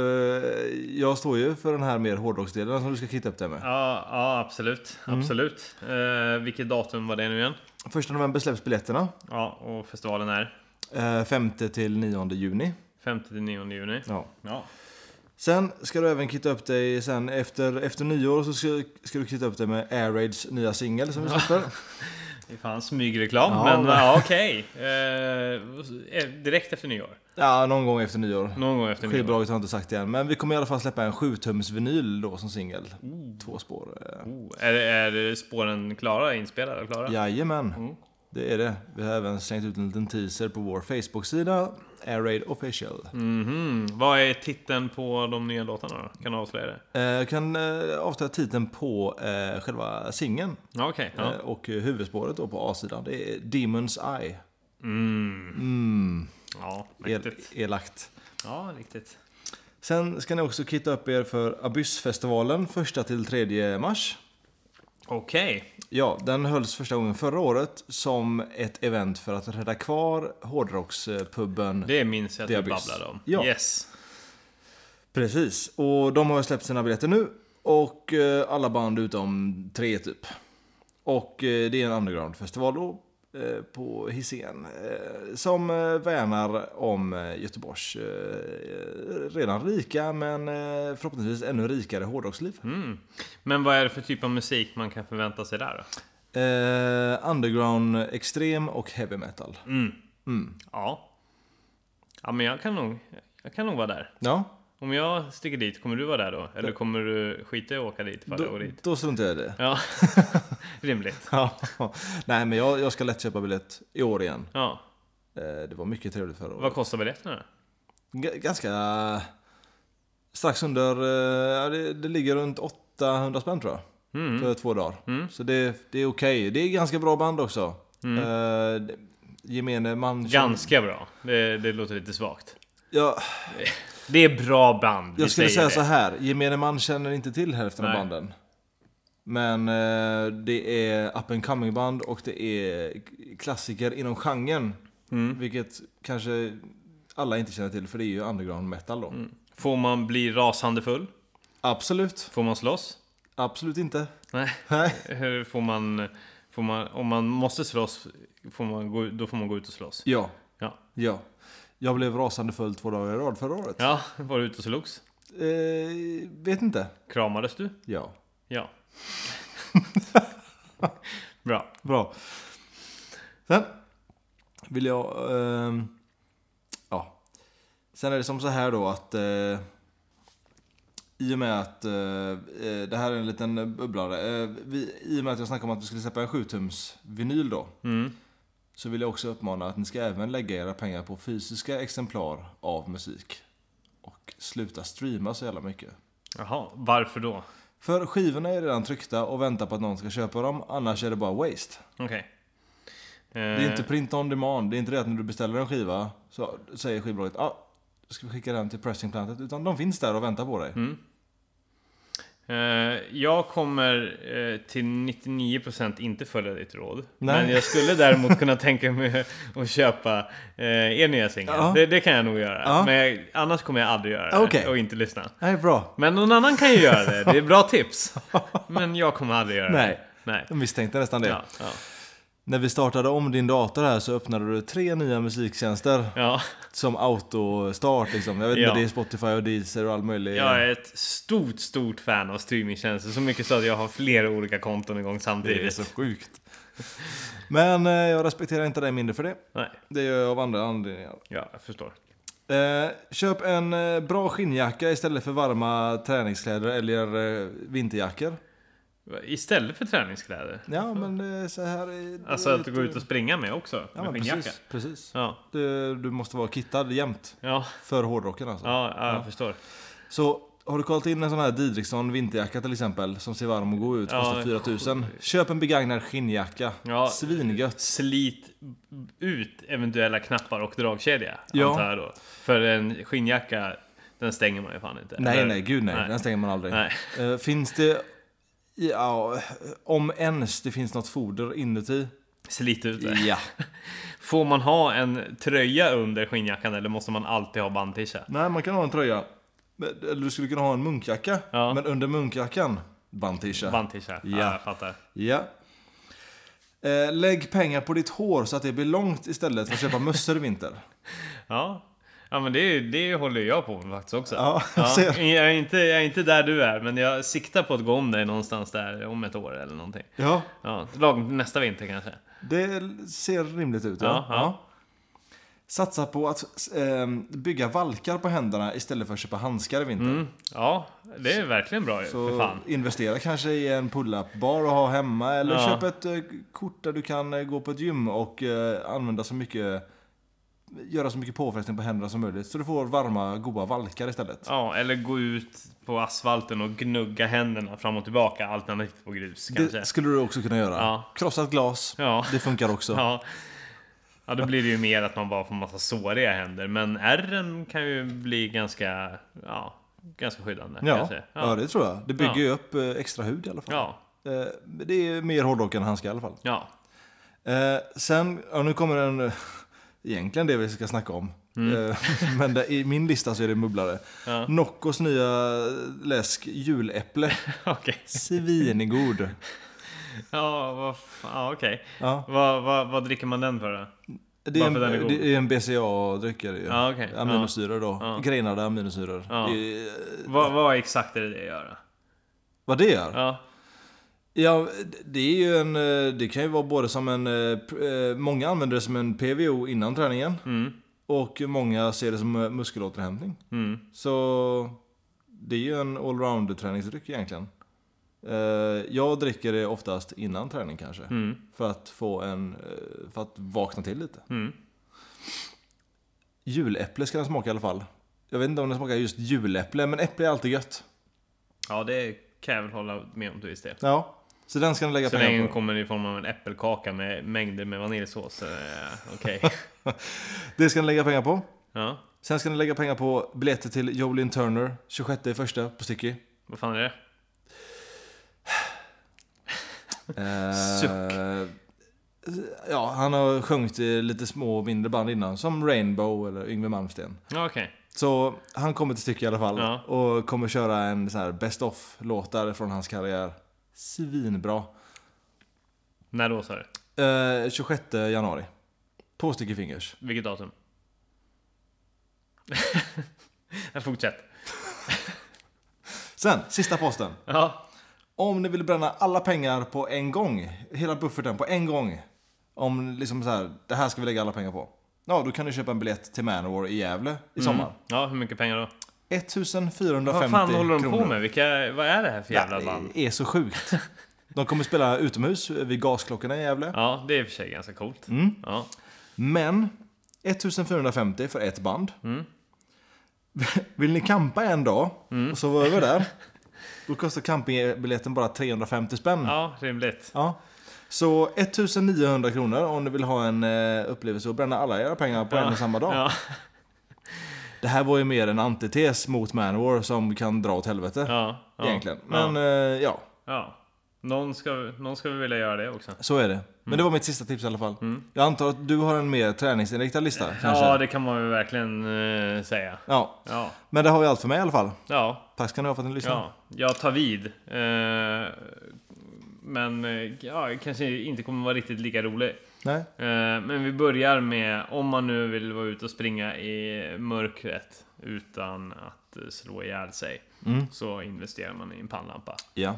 [SPEAKER 1] Jag står ju för den här mer hårdrocksdelen som du ska kitta upp dig med.
[SPEAKER 2] Ja, ja, absolut.
[SPEAKER 1] Mm.
[SPEAKER 2] Absolut. Eh, vilket datum var det nu igen?
[SPEAKER 1] Första november släpps biljetterna.
[SPEAKER 2] Ja, och festivalen är?
[SPEAKER 1] eh, femte till 9 juni.
[SPEAKER 2] 5-9 juni.
[SPEAKER 1] Ja.
[SPEAKER 2] Ja.
[SPEAKER 1] Sen ska du även kitta upp dig sen efter, efter nyår så ska, ska du kitta upp dig med Air Raids nya singel som vi släpper.
[SPEAKER 2] Det är fan smygreklam,
[SPEAKER 1] Ja,
[SPEAKER 2] men
[SPEAKER 1] men-
[SPEAKER 2] ja, okej. Eh, direkt efter nyår.
[SPEAKER 1] Ja, någon gång efter nyår.
[SPEAKER 2] Någon gång efter nyår.
[SPEAKER 1] Skivbolaget har inte sagt det än, men vi kommer i alla fall släppa en 7-tums vinyl då som singel. Två spår. eh.
[SPEAKER 2] Oh, är, är spåren klara? Inspelade och klara?
[SPEAKER 1] Jajamän,
[SPEAKER 2] Mm.
[SPEAKER 1] det är det. Vi har även slängt ut en liten teaser på vår Facebook-sida, Air Raid Official.
[SPEAKER 2] Mhm. Vad är titeln på de nya låtarna då? Kan du avslöja det?
[SPEAKER 1] Eh, Jag kan eh, avslöja titeln på eh, själva singeln
[SPEAKER 2] Ja, Okej. ja.
[SPEAKER 1] eh, och eh, huvudspåret då på A-sidan. Det är Demons Eye.
[SPEAKER 2] Mm.
[SPEAKER 1] Mm,
[SPEAKER 2] Ja,
[SPEAKER 1] el-
[SPEAKER 2] riktigt.
[SPEAKER 1] elakt.
[SPEAKER 2] Ja, riktigt.
[SPEAKER 1] Sen ska ni också kitta upp er för Abyssfestivalen 1 till 3 mars.
[SPEAKER 2] Okej.
[SPEAKER 1] Ja, den hölls första gången förra året som ett event för att rädda kvar hårdrockspubben.
[SPEAKER 2] Det minns jag att du
[SPEAKER 1] Diabetes.
[SPEAKER 2] babblade om.
[SPEAKER 1] Ja.
[SPEAKER 2] Yes.
[SPEAKER 1] Precis, och de har ju släppt sina biljetter nu. Och eh, alla band utom tre typ. Och eh, det är en undergroundfestival då. eh, På Hisingen. eh, Som eh, värnar om eh, Göteborgs eh, redan rika men eh, förhoppningsvis ännu rikare hårdrocksliv.
[SPEAKER 2] Mm. Men vad är det för typ av musik man kan förvänta sig där då?
[SPEAKER 1] Eh, underground, extrem och heavy metal.
[SPEAKER 2] Mm.
[SPEAKER 1] Mm.
[SPEAKER 2] Ja. Ja, men jag kan nog... Jag kan nog vara där.
[SPEAKER 1] Ja,
[SPEAKER 2] Om jag sticker dit, kommer du vara där då? Eller kommer du skita i att åka dit ifall jag
[SPEAKER 1] då,
[SPEAKER 2] går dit?
[SPEAKER 1] då struntar jag i det.
[SPEAKER 2] Ja. Rimligt.
[SPEAKER 1] Ja. Nej men jag, jag ska lätt köpa biljett i år igen.
[SPEAKER 2] Ja.
[SPEAKER 1] Eh, det var mycket trevligt förra året.
[SPEAKER 2] Vad kostar biljetterna då?
[SPEAKER 1] G- ganska... Strax under... eh, ja, Det, det ligger runt 800 spänn tror jag.
[SPEAKER 2] Mm.
[SPEAKER 1] För två dagar.
[SPEAKER 2] Mm.
[SPEAKER 1] Så det, det är okej. Det är ganska bra band också.
[SPEAKER 2] Mm.
[SPEAKER 1] Eh, det- gemene man...
[SPEAKER 2] Ganska bra. Det, det låter lite svagt.
[SPEAKER 1] Ja,
[SPEAKER 2] Det är bra band. vi
[SPEAKER 1] jag skulle säga
[SPEAKER 2] säger
[SPEAKER 1] så
[SPEAKER 2] det.
[SPEAKER 1] här. Gemene man känner inte till hälften
[SPEAKER 2] Nej.
[SPEAKER 1] av banden. Men eh, det är up and coming band och det är klassiker inom genren.
[SPEAKER 2] Mm.
[SPEAKER 1] Vilket kanske alla inte känner till för det är ju underground metal då.
[SPEAKER 2] Mm. Får man bli rasande full?
[SPEAKER 1] Absolut.
[SPEAKER 2] Får man slåss?
[SPEAKER 1] Absolut inte.
[SPEAKER 2] Nej.
[SPEAKER 1] Nej.
[SPEAKER 2] Hur Får man, får man, om man måste slåss, får man gå, då får man gå ut och slåss.
[SPEAKER 1] Ja.
[SPEAKER 2] Ja.
[SPEAKER 1] Ja. Jag blev rasande full två dagar i rad förra året.
[SPEAKER 2] Ja, var du ute och slogs?
[SPEAKER 1] Eh, vet inte.
[SPEAKER 2] Kramades du?
[SPEAKER 1] Ja.
[SPEAKER 2] Ja. Bra.
[SPEAKER 1] Bra. Sen vill jag... ehm, ja. Sen är det som så här då att... Eh, I och med att... Eh, eh, det här är en liten bubblare. Eh, vi, I och med att jag snackade om att vi skulle släppa en 7-tums vinyl då.
[SPEAKER 2] Mm.
[SPEAKER 1] Så vill jag också uppmana att ni ska även lägga era pengar på fysiska exemplar av musik. Och sluta streama så jävla mycket.
[SPEAKER 2] Jaha, varför då?
[SPEAKER 1] För skivorna är redan tryckta och väntar på att någon ska köpa dem, annars är det bara waste.
[SPEAKER 2] Okej.
[SPEAKER 1] Det är inte print on demand, det är inte det att när du beställer en skiva så säger skivbolaget ah, ska vi skicka den till pressing plantet, utan de finns där och väntar på dig.
[SPEAKER 2] Mm. Eh, jag kommer eh, till 99% inte följa ditt råd.
[SPEAKER 1] Nej.
[SPEAKER 2] Men jag skulle däremot kunna tänka mig att köpa eh, er nya singel.
[SPEAKER 1] Ja.
[SPEAKER 2] Det, det kan jag nog göra.
[SPEAKER 1] Ja.
[SPEAKER 2] Men jag, annars kommer jag aldrig göra det
[SPEAKER 1] Okej.
[SPEAKER 2] och inte lyssna.
[SPEAKER 1] Nej, bra.
[SPEAKER 2] Men någon annan kan ju göra det. Det är bra tips. Men jag kommer aldrig göra
[SPEAKER 1] Nej,
[SPEAKER 2] det. Nej.
[SPEAKER 1] jag misstänkte nästan det.
[SPEAKER 2] Ja, ja.
[SPEAKER 1] När vi startade om din dator här så öppnade du tre nya musiktjänster
[SPEAKER 2] Ja.
[SPEAKER 1] som autostart liksom. Jag vet inte,
[SPEAKER 2] Ja.
[SPEAKER 1] det är Spotify och Deezer och all möjlig...
[SPEAKER 2] Jag är ett stort, stort fan av streamingtjänster. Så mycket så att jag har flera olika konton igång
[SPEAKER 1] Det är
[SPEAKER 2] samtidigt.
[SPEAKER 1] så sjukt. Men eh, jag respekterar inte dig mindre för det.
[SPEAKER 2] Nej,
[SPEAKER 1] Det gör jag av andra anledningar.
[SPEAKER 2] ja, jag förstår.
[SPEAKER 1] Eh, köp en eh, bra skinnjacka istället för varma träningskläder eller eh, vinterjackor.
[SPEAKER 2] Istället för träningskläder.
[SPEAKER 1] Ja, men eh, så här... är-
[SPEAKER 2] Alltså att gå ut och springa med också.
[SPEAKER 1] Ja,
[SPEAKER 2] med
[SPEAKER 1] men
[SPEAKER 2] skinnjacka.
[SPEAKER 1] precis. precis.
[SPEAKER 2] Ja,
[SPEAKER 1] Du, du måste vara kittad jämt.
[SPEAKER 2] ja,
[SPEAKER 1] För hårdrocken alltså.
[SPEAKER 2] ja, ja, jag förstår.
[SPEAKER 1] Så har du kollat in en sån här Didriksson vinterjacka till exempel, som ser varm och god ut,
[SPEAKER 2] Ja,
[SPEAKER 1] kostar 4000. Köp en begagnad skinnjacka.
[SPEAKER 2] Ja.
[SPEAKER 1] Svingött.
[SPEAKER 2] Slit ut eventuella knappar och dragkedja,
[SPEAKER 1] Ja.
[SPEAKER 2] antar jag då. För en skinnjacka, den stänger man ju fan inte.
[SPEAKER 1] Nej,
[SPEAKER 2] eller?
[SPEAKER 1] nej, gud nej.
[SPEAKER 2] Nej.
[SPEAKER 1] Den stänger man aldrig.
[SPEAKER 2] Nej.
[SPEAKER 1] Eh, finns det... Ja, om ens det finns något foder inuti.
[SPEAKER 2] Slit ut det.
[SPEAKER 1] Ja.
[SPEAKER 2] Får man ha en tröja under skinnjackan eller måste man alltid ha bandtisha?
[SPEAKER 1] Nej, man kan ha en tröja. Men- Eller du skulle kunna ha en munkjacka.
[SPEAKER 2] Ja.
[SPEAKER 1] Men under munkjackan, bandtisha.
[SPEAKER 2] Bandtisha, ja.
[SPEAKER 1] Ja.
[SPEAKER 2] jag fattar.
[SPEAKER 1] ja. Eh, lägg pengar på ditt hår så att det blir långt istället för att köpa mössor i vinter.
[SPEAKER 2] Ja. Ja men det, det håller jag på med faktiskt också.
[SPEAKER 1] Ja, jag ser.
[SPEAKER 2] Jag, är inte, jag är inte där du är men jag siktar på att gå om dig någonstans där om ett år eller någonting.
[SPEAKER 1] Ja,
[SPEAKER 2] Ja, lagom nästa vinter kanske.
[SPEAKER 1] det ser rimligt ut. Ja.
[SPEAKER 2] Ja, ja.
[SPEAKER 1] Satsa på att eh, bygga valkar på händerna istället för att köpa handskar i vinter.
[SPEAKER 2] Mm, ja, det är verkligen bra ju, för
[SPEAKER 1] Så
[SPEAKER 2] fan.
[SPEAKER 1] investera kanske i en pull-up bar och ha hemma eller
[SPEAKER 2] Ja.
[SPEAKER 1] köp ett eh, kort där du kan eh, gå på ett gym och eh, använda så mycket göra så mycket påfrestning på händerna som möjligt så du får varma, goda valkar istället.
[SPEAKER 2] Ja, eller gå ut på asfalten och gnugga händerna fram och tillbaka alternativt på grus kanske.
[SPEAKER 1] Det skulle du också kunna göra.
[SPEAKER 2] Ja.
[SPEAKER 1] Krossat glas,
[SPEAKER 2] Ja,
[SPEAKER 1] det funkar också.
[SPEAKER 2] ja. Ja, då blir det ju mer att man bara får massa såriga händer. Men ärren kan ju bli ganska, ja, ganska skyddande
[SPEAKER 1] Ja.
[SPEAKER 2] kanske.
[SPEAKER 1] ja, det tror jag. Det bygger
[SPEAKER 2] Ja.
[SPEAKER 1] ju upp eh, extra hud i alla fall.
[SPEAKER 2] ja,
[SPEAKER 1] Eh, Det är mer hårdrock än handskar i alla fall.
[SPEAKER 2] ja.
[SPEAKER 1] Eh, sen, ja, nu kommer en... eh, Egentligen det vi ska snacka om. Eh, men det, i min lista så är det mubblare.
[SPEAKER 2] Mm. Ja.
[SPEAKER 1] Noccos nya läsk juläpple.
[SPEAKER 2] Okej.
[SPEAKER 1] Svingod.
[SPEAKER 2] Ja, vad fan, ja, okej.
[SPEAKER 1] Ja.
[SPEAKER 2] Vad, vad, vad dricker man den för då?
[SPEAKER 1] Det, är en,
[SPEAKER 2] Varför den är god?
[SPEAKER 1] det är en BCA-dryck är det ju.
[SPEAKER 2] Ja, okej. Ja.
[SPEAKER 1] Aminosyror då.
[SPEAKER 2] Ja.
[SPEAKER 1] Grenade aminosyror.
[SPEAKER 2] Ja.
[SPEAKER 1] Det, eh,
[SPEAKER 2] Vad, vad exakt är det det gör? då?
[SPEAKER 1] vad det är? Ja.
[SPEAKER 2] Ja,
[SPEAKER 1] det- det är ju en... eh, Det kan ju vara både som en... eh, pr- eh, Många använder det som en PVO innan träningen.
[SPEAKER 2] mm,
[SPEAKER 1] Och många ser det som eh, muskelåterhämtning.
[SPEAKER 2] mm.
[SPEAKER 1] Så det är ju en allround träningsdryck egentligen. Eh, Jag dricker det oftast innan träning kanske.
[SPEAKER 2] Mm.
[SPEAKER 1] För att få en... eh, För att vakna till lite.
[SPEAKER 2] Mm.
[SPEAKER 1] Juläpple ska den smaka i alla fall. Jag vet inte om den smakar just juläpple, men äpple är alltid gött.
[SPEAKER 2] Ja, det kan jag väl hålla med om till viss del.
[SPEAKER 1] Ja. Så den ska ni lägga
[SPEAKER 2] Så länge
[SPEAKER 1] pengar
[SPEAKER 2] den
[SPEAKER 1] på.
[SPEAKER 2] kommer i form av en äppelkaka med mängder med vaniljsås. så, eh, Okej.
[SPEAKER 1] Det ska ni lägga pengar på.
[SPEAKER 2] Ja,
[SPEAKER 1] Sen ska ni lägga pengar på biljetter till Jolin Turner 26 i första på Sticky.
[SPEAKER 2] vad fan är det?
[SPEAKER 1] Eh,
[SPEAKER 2] Suck.
[SPEAKER 1] Ja, han har sjungit i lite små mindre band innan, som Rainbow eller Yngwie Malmsteen.
[SPEAKER 2] Ja, okej.
[SPEAKER 1] Så han kommer till stycke i alla fall
[SPEAKER 2] Ja.
[SPEAKER 1] och kommer köra en sån här best of låtar från hans karriär. Svinbra.
[SPEAKER 2] När då sa du?
[SPEAKER 1] Eh, 26 januari. På Sticky Fingers.
[SPEAKER 2] Vilket datum? Fortsätt.
[SPEAKER 1] Sen, sista posten.
[SPEAKER 2] Ja,
[SPEAKER 1] Om ni vill bränna alla pengar på en gång, hela bufferten på en gång. Om liksom så här, det här ska vi lägga alla pengar på. Ja, då kan du köpa en biljett till Manowar i Gävle i
[SPEAKER 2] Mm.
[SPEAKER 1] sommar.
[SPEAKER 2] ja hur mycket pengar då?
[SPEAKER 1] 1450
[SPEAKER 2] Vad fan håller de
[SPEAKER 1] kronor.
[SPEAKER 2] på med? Vilka, vad är det här för jävla band?
[SPEAKER 1] Det är så sjukt. De kommer spela utomhus vid gasklockorna i Gävle.
[SPEAKER 2] Ja, det är i och för sig ganska coolt.
[SPEAKER 1] Mm.
[SPEAKER 2] Ja.
[SPEAKER 1] Men 1450 för ett band.
[SPEAKER 2] Mm.
[SPEAKER 1] Vill ni kampa en dag och sova över där Då kostar campingbiljetten bara 350 spänn.
[SPEAKER 2] Ja, rimligt.
[SPEAKER 1] Ja. Så 1900 kronor om du vill ha en eh, upplevelse och bränna alla era pengar på en och samma dag.
[SPEAKER 2] Ja,
[SPEAKER 1] Det här var ju mer en antites mot Manowar som kan dra åt helvete.
[SPEAKER 2] ja, ja.
[SPEAKER 1] Egentligen. Men eh, ja,
[SPEAKER 2] Ja. Någon ska, någon ska väl vilja göra det också.
[SPEAKER 1] så är det. Men det var mitt sista tips i alla fall.
[SPEAKER 2] Mm.
[SPEAKER 1] Jag antar att du har en mer träningsinriktad lista kanske?
[SPEAKER 2] Ja, det kan man väl verkligen eh, säga.
[SPEAKER 1] ja.
[SPEAKER 2] Ja,
[SPEAKER 1] Men det har vi allt för mig i alla fall.
[SPEAKER 2] ja,
[SPEAKER 1] Tack ska ni ha för att ni lyssnade.
[SPEAKER 2] ja. Jag tar vid. Eh, men eh, ja, kanske inte kommer vara riktigt lika rolig.
[SPEAKER 1] Nej.
[SPEAKER 2] Eh, Men vi börjar med om man nu vill vara ute och springa i mörkret utan att eh, slå ihjäl sig
[SPEAKER 1] Mm.
[SPEAKER 2] så investerar man i en pannlampa.
[SPEAKER 1] Ja.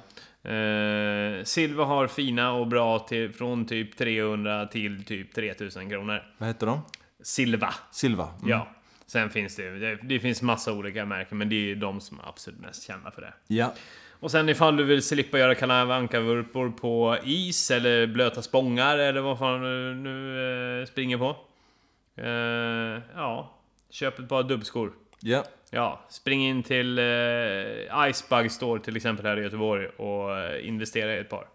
[SPEAKER 2] Eh, Silva har fina och bra till, från typ 300 till typ 3000 kronor.
[SPEAKER 1] Vad heter de?
[SPEAKER 2] Silva,
[SPEAKER 1] Silva. Mm.
[SPEAKER 2] ja. Sen finns det, det, det finns massa olika märken men det är ju de som är absolut mest kända för det.
[SPEAKER 1] Ja.
[SPEAKER 2] Och sen ifall du vill slippa göra Kalle Anka-vurpor på is eller blöta spångar eller vad fan du nu eh, springer på. Eh, ja, köp ett par dubbskor.
[SPEAKER 1] Ja.
[SPEAKER 2] Ja, spring in till eh, Icebug Store till exempel här i Göteborg och eh, investera i ett par.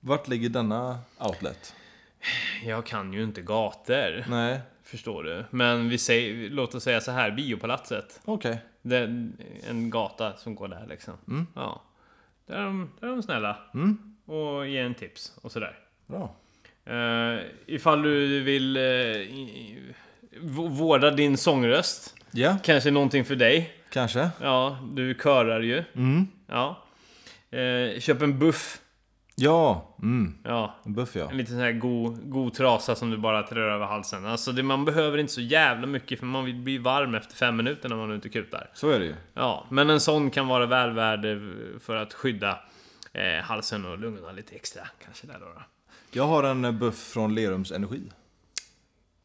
[SPEAKER 1] Vart ligger denna outlet?
[SPEAKER 2] Jag kan ju inte gator,
[SPEAKER 1] Nej.
[SPEAKER 2] förstår du. Men vi säger, låt oss säga så här, Biopalatset.
[SPEAKER 1] Okej.
[SPEAKER 2] Det är en gata som går där liksom.
[SPEAKER 1] Mm.
[SPEAKER 2] Ja. Där är, de, där är de snälla.
[SPEAKER 1] Mm.
[SPEAKER 2] Och ger en tips och sådär.
[SPEAKER 1] Bra.
[SPEAKER 2] Uh, ifall du vill eh, i- i- v- vårda din sångröst.
[SPEAKER 1] Ja,
[SPEAKER 2] Kanske någonting för dig.
[SPEAKER 1] kanske.
[SPEAKER 2] Ja, du körar ju.
[SPEAKER 1] Mm.
[SPEAKER 2] Ja. Eh, köp en buff.
[SPEAKER 1] Ja. Mm.
[SPEAKER 2] Ja,
[SPEAKER 1] En buff ja.
[SPEAKER 2] en liten sån här god, god trasa som du bara trär över halsen. Alltså det, man behöver inte så jävla mycket för man vill bli varm efter fem minuter när man är ute och kutar.
[SPEAKER 1] Så är det ju.
[SPEAKER 2] Ja, men en sån kan vara väl värd eh, för att skydda eh, halsen och lungorna lite extra. Kanske där då. då.
[SPEAKER 1] Jag har en eh, buff från Lerums Energi.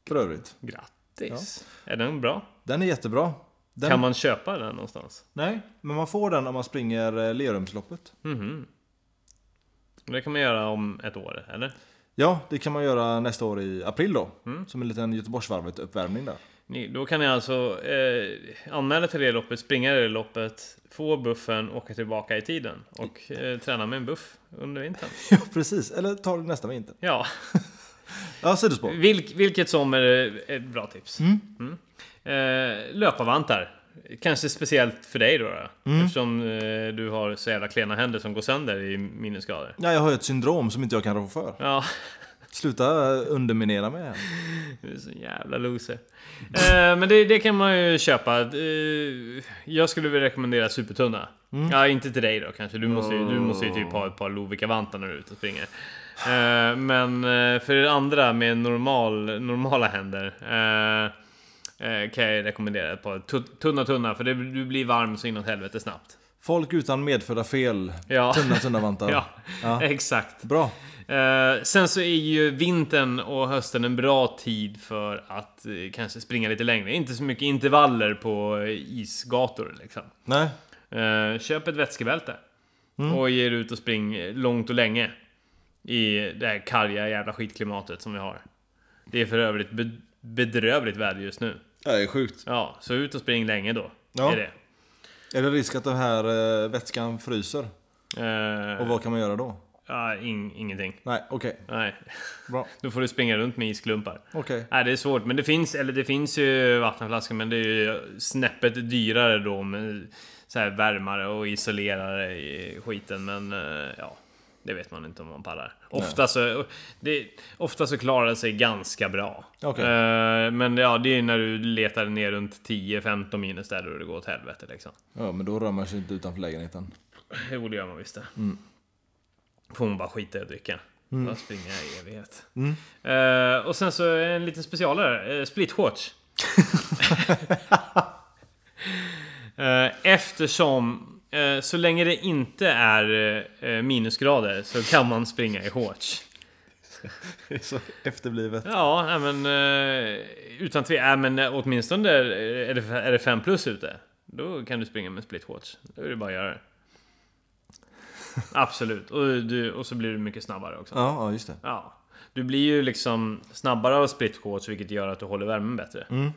[SPEAKER 1] För övrigt.
[SPEAKER 2] Grattis! Är den bra?
[SPEAKER 1] Den är jättebra. Den...
[SPEAKER 2] Kan man köpa den någonstans?
[SPEAKER 1] Nej, men man får den om man springer eh, Lerumsloppet.
[SPEAKER 2] Mhm. Det kan man göra om ett år, eller?
[SPEAKER 1] Ja, det kan man göra nästa år i april då.
[SPEAKER 2] Mm.
[SPEAKER 1] Som en liten Göteborgsvarvet-uppvärmning där.
[SPEAKER 2] Ni, då kan ni alltså eh, anmäla till det loppet, springa det loppet, få buffen, åka tillbaka i tiden och eh, träna med en buff under vintern.
[SPEAKER 1] Ja, precis. Eller tar det nästa vinter.
[SPEAKER 2] Ja,
[SPEAKER 1] Ja, sidospår.
[SPEAKER 2] vilk, vilket som är eh, ett bra tips.
[SPEAKER 1] Mm.
[SPEAKER 2] Mm. Eh, löparvantar. Kanske speciellt för dig då, då eftersom eh, du har så jävla klena händer som går sönder i minusgrader.
[SPEAKER 1] Ja, jag har ju ett syndrom som inte jag kan rå för.
[SPEAKER 2] Ja,
[SPEAKER 1] Sluta eh, underminera mig här.
[SPEAKER 2] Du är så jävla loser. Eh, men det, det kan man ju köpa. Eh, jag skulle vilja rekommendera supertunna.
[SPEAKER 1] Mm.
[SPEAKER 2] Ja, inte till dig då kanske. Du måste ju, du måste ju typ ha ett par Lovikka-vantar när du är ute och springer. Eh, men eh, för er andra med normal, normala händer eh, eh, kan jag rekommendera ett par tu- tunna tunna för det, du blir varm så inåt helvete snabbt.
[SPEAKER 1] Folk utan medfödda fel.
[SPEAKER 2] Ja,
[SPEAKER 1] Tunna, tunna vantar.
[SPEAKER 2] ja,
[SPEAKER 1] Ja.
[SPEAKER 2] exakt.
[SPEAKER 1] Bra.
[SPEAKER 2] Eh, sen så är ju vintern och hösten en bra tid för att eh, kanske springa lite längre. Inte så mycket intervaller på eh, isgator liksom.
[SPEAKER 1] Nej.
[SPEAKER 2] Eh, köp ett vätskebälte.
[SPEAKER 1] Mm.
[SPEAKER 2] Och ge er ut och spring långt och länge. I det här karga jävla skitklimatet som vi har. Det är för övrigt be- bedrövligt väder just nu.
[SPEAKER 1] Ja, Det är sjukt.
[SPEAKER 2] Ja, så ut och spring länge då.
[SPEAKER 1] Ja.
[SPEAKER 2] Är det.
[SPEAKER 1] Är det risk att den här eh, vätskan fryser?
[SPEAKER 2] Eh,
[SPEAKER 1] Och vad kan man göra då?
[SPEAKER 2] ja, in- ingenting.
[SPEAKER 1] Nej, okej.
[SPEAKER 2] Nej.
[SPEAKER 1] Bra.
[SPEAKER 2] Då får du springa runt med isklumpar.
[SPEAKER 1] Okej.
[SPEAKER 2] Nej, det är svårt. Men det finns, eller det finns ju vattenflaskor, men det är ju snäppet dyrare då med så här värmare och isolerare i skiten. Men eh, ja, det vet man inte om man pallar. Ofta så, det, ofta så klarar det sig ganska bra.
[SPEAKER 1] Okej.
[SPEAKER 2] Eh, Men ja, det är när du letar ner runt 10-15 minus där och det går åt helvete liksom.
[SPEAKER 1] Ja, men då rör man sig inte utanför lägenheten.
[SPEAKER 2] Jo, det gör man visst det. Får man bara skita i att dricka. Bara springa i evighet. Eh, och sen så en liten specialare. Uh, Splitshorts. Eh, eftersom eh, så länge det inte är eh, minusgrader så kan man springa i shorts.
[SPEAKER 1] Så efterblivet.
[SPEAKER 2] Ja, nej, men eh, utan tve- nej, men eh, åtminstone är är det, är det fem plus ute. Då kan du springa med split watch. Då är det bara att göra det. Absolut. Och, du, och så blir du mycket snabbare också.
[SPEAKER 1] Ja, ja, just det.
[SPEAKER 2] Ja. Du blir ju liksom snabbare av split watch vilket gör att du håller värmen bättre.
[SPEAKER 1] Mm.
[SPEAKER 2] Eh,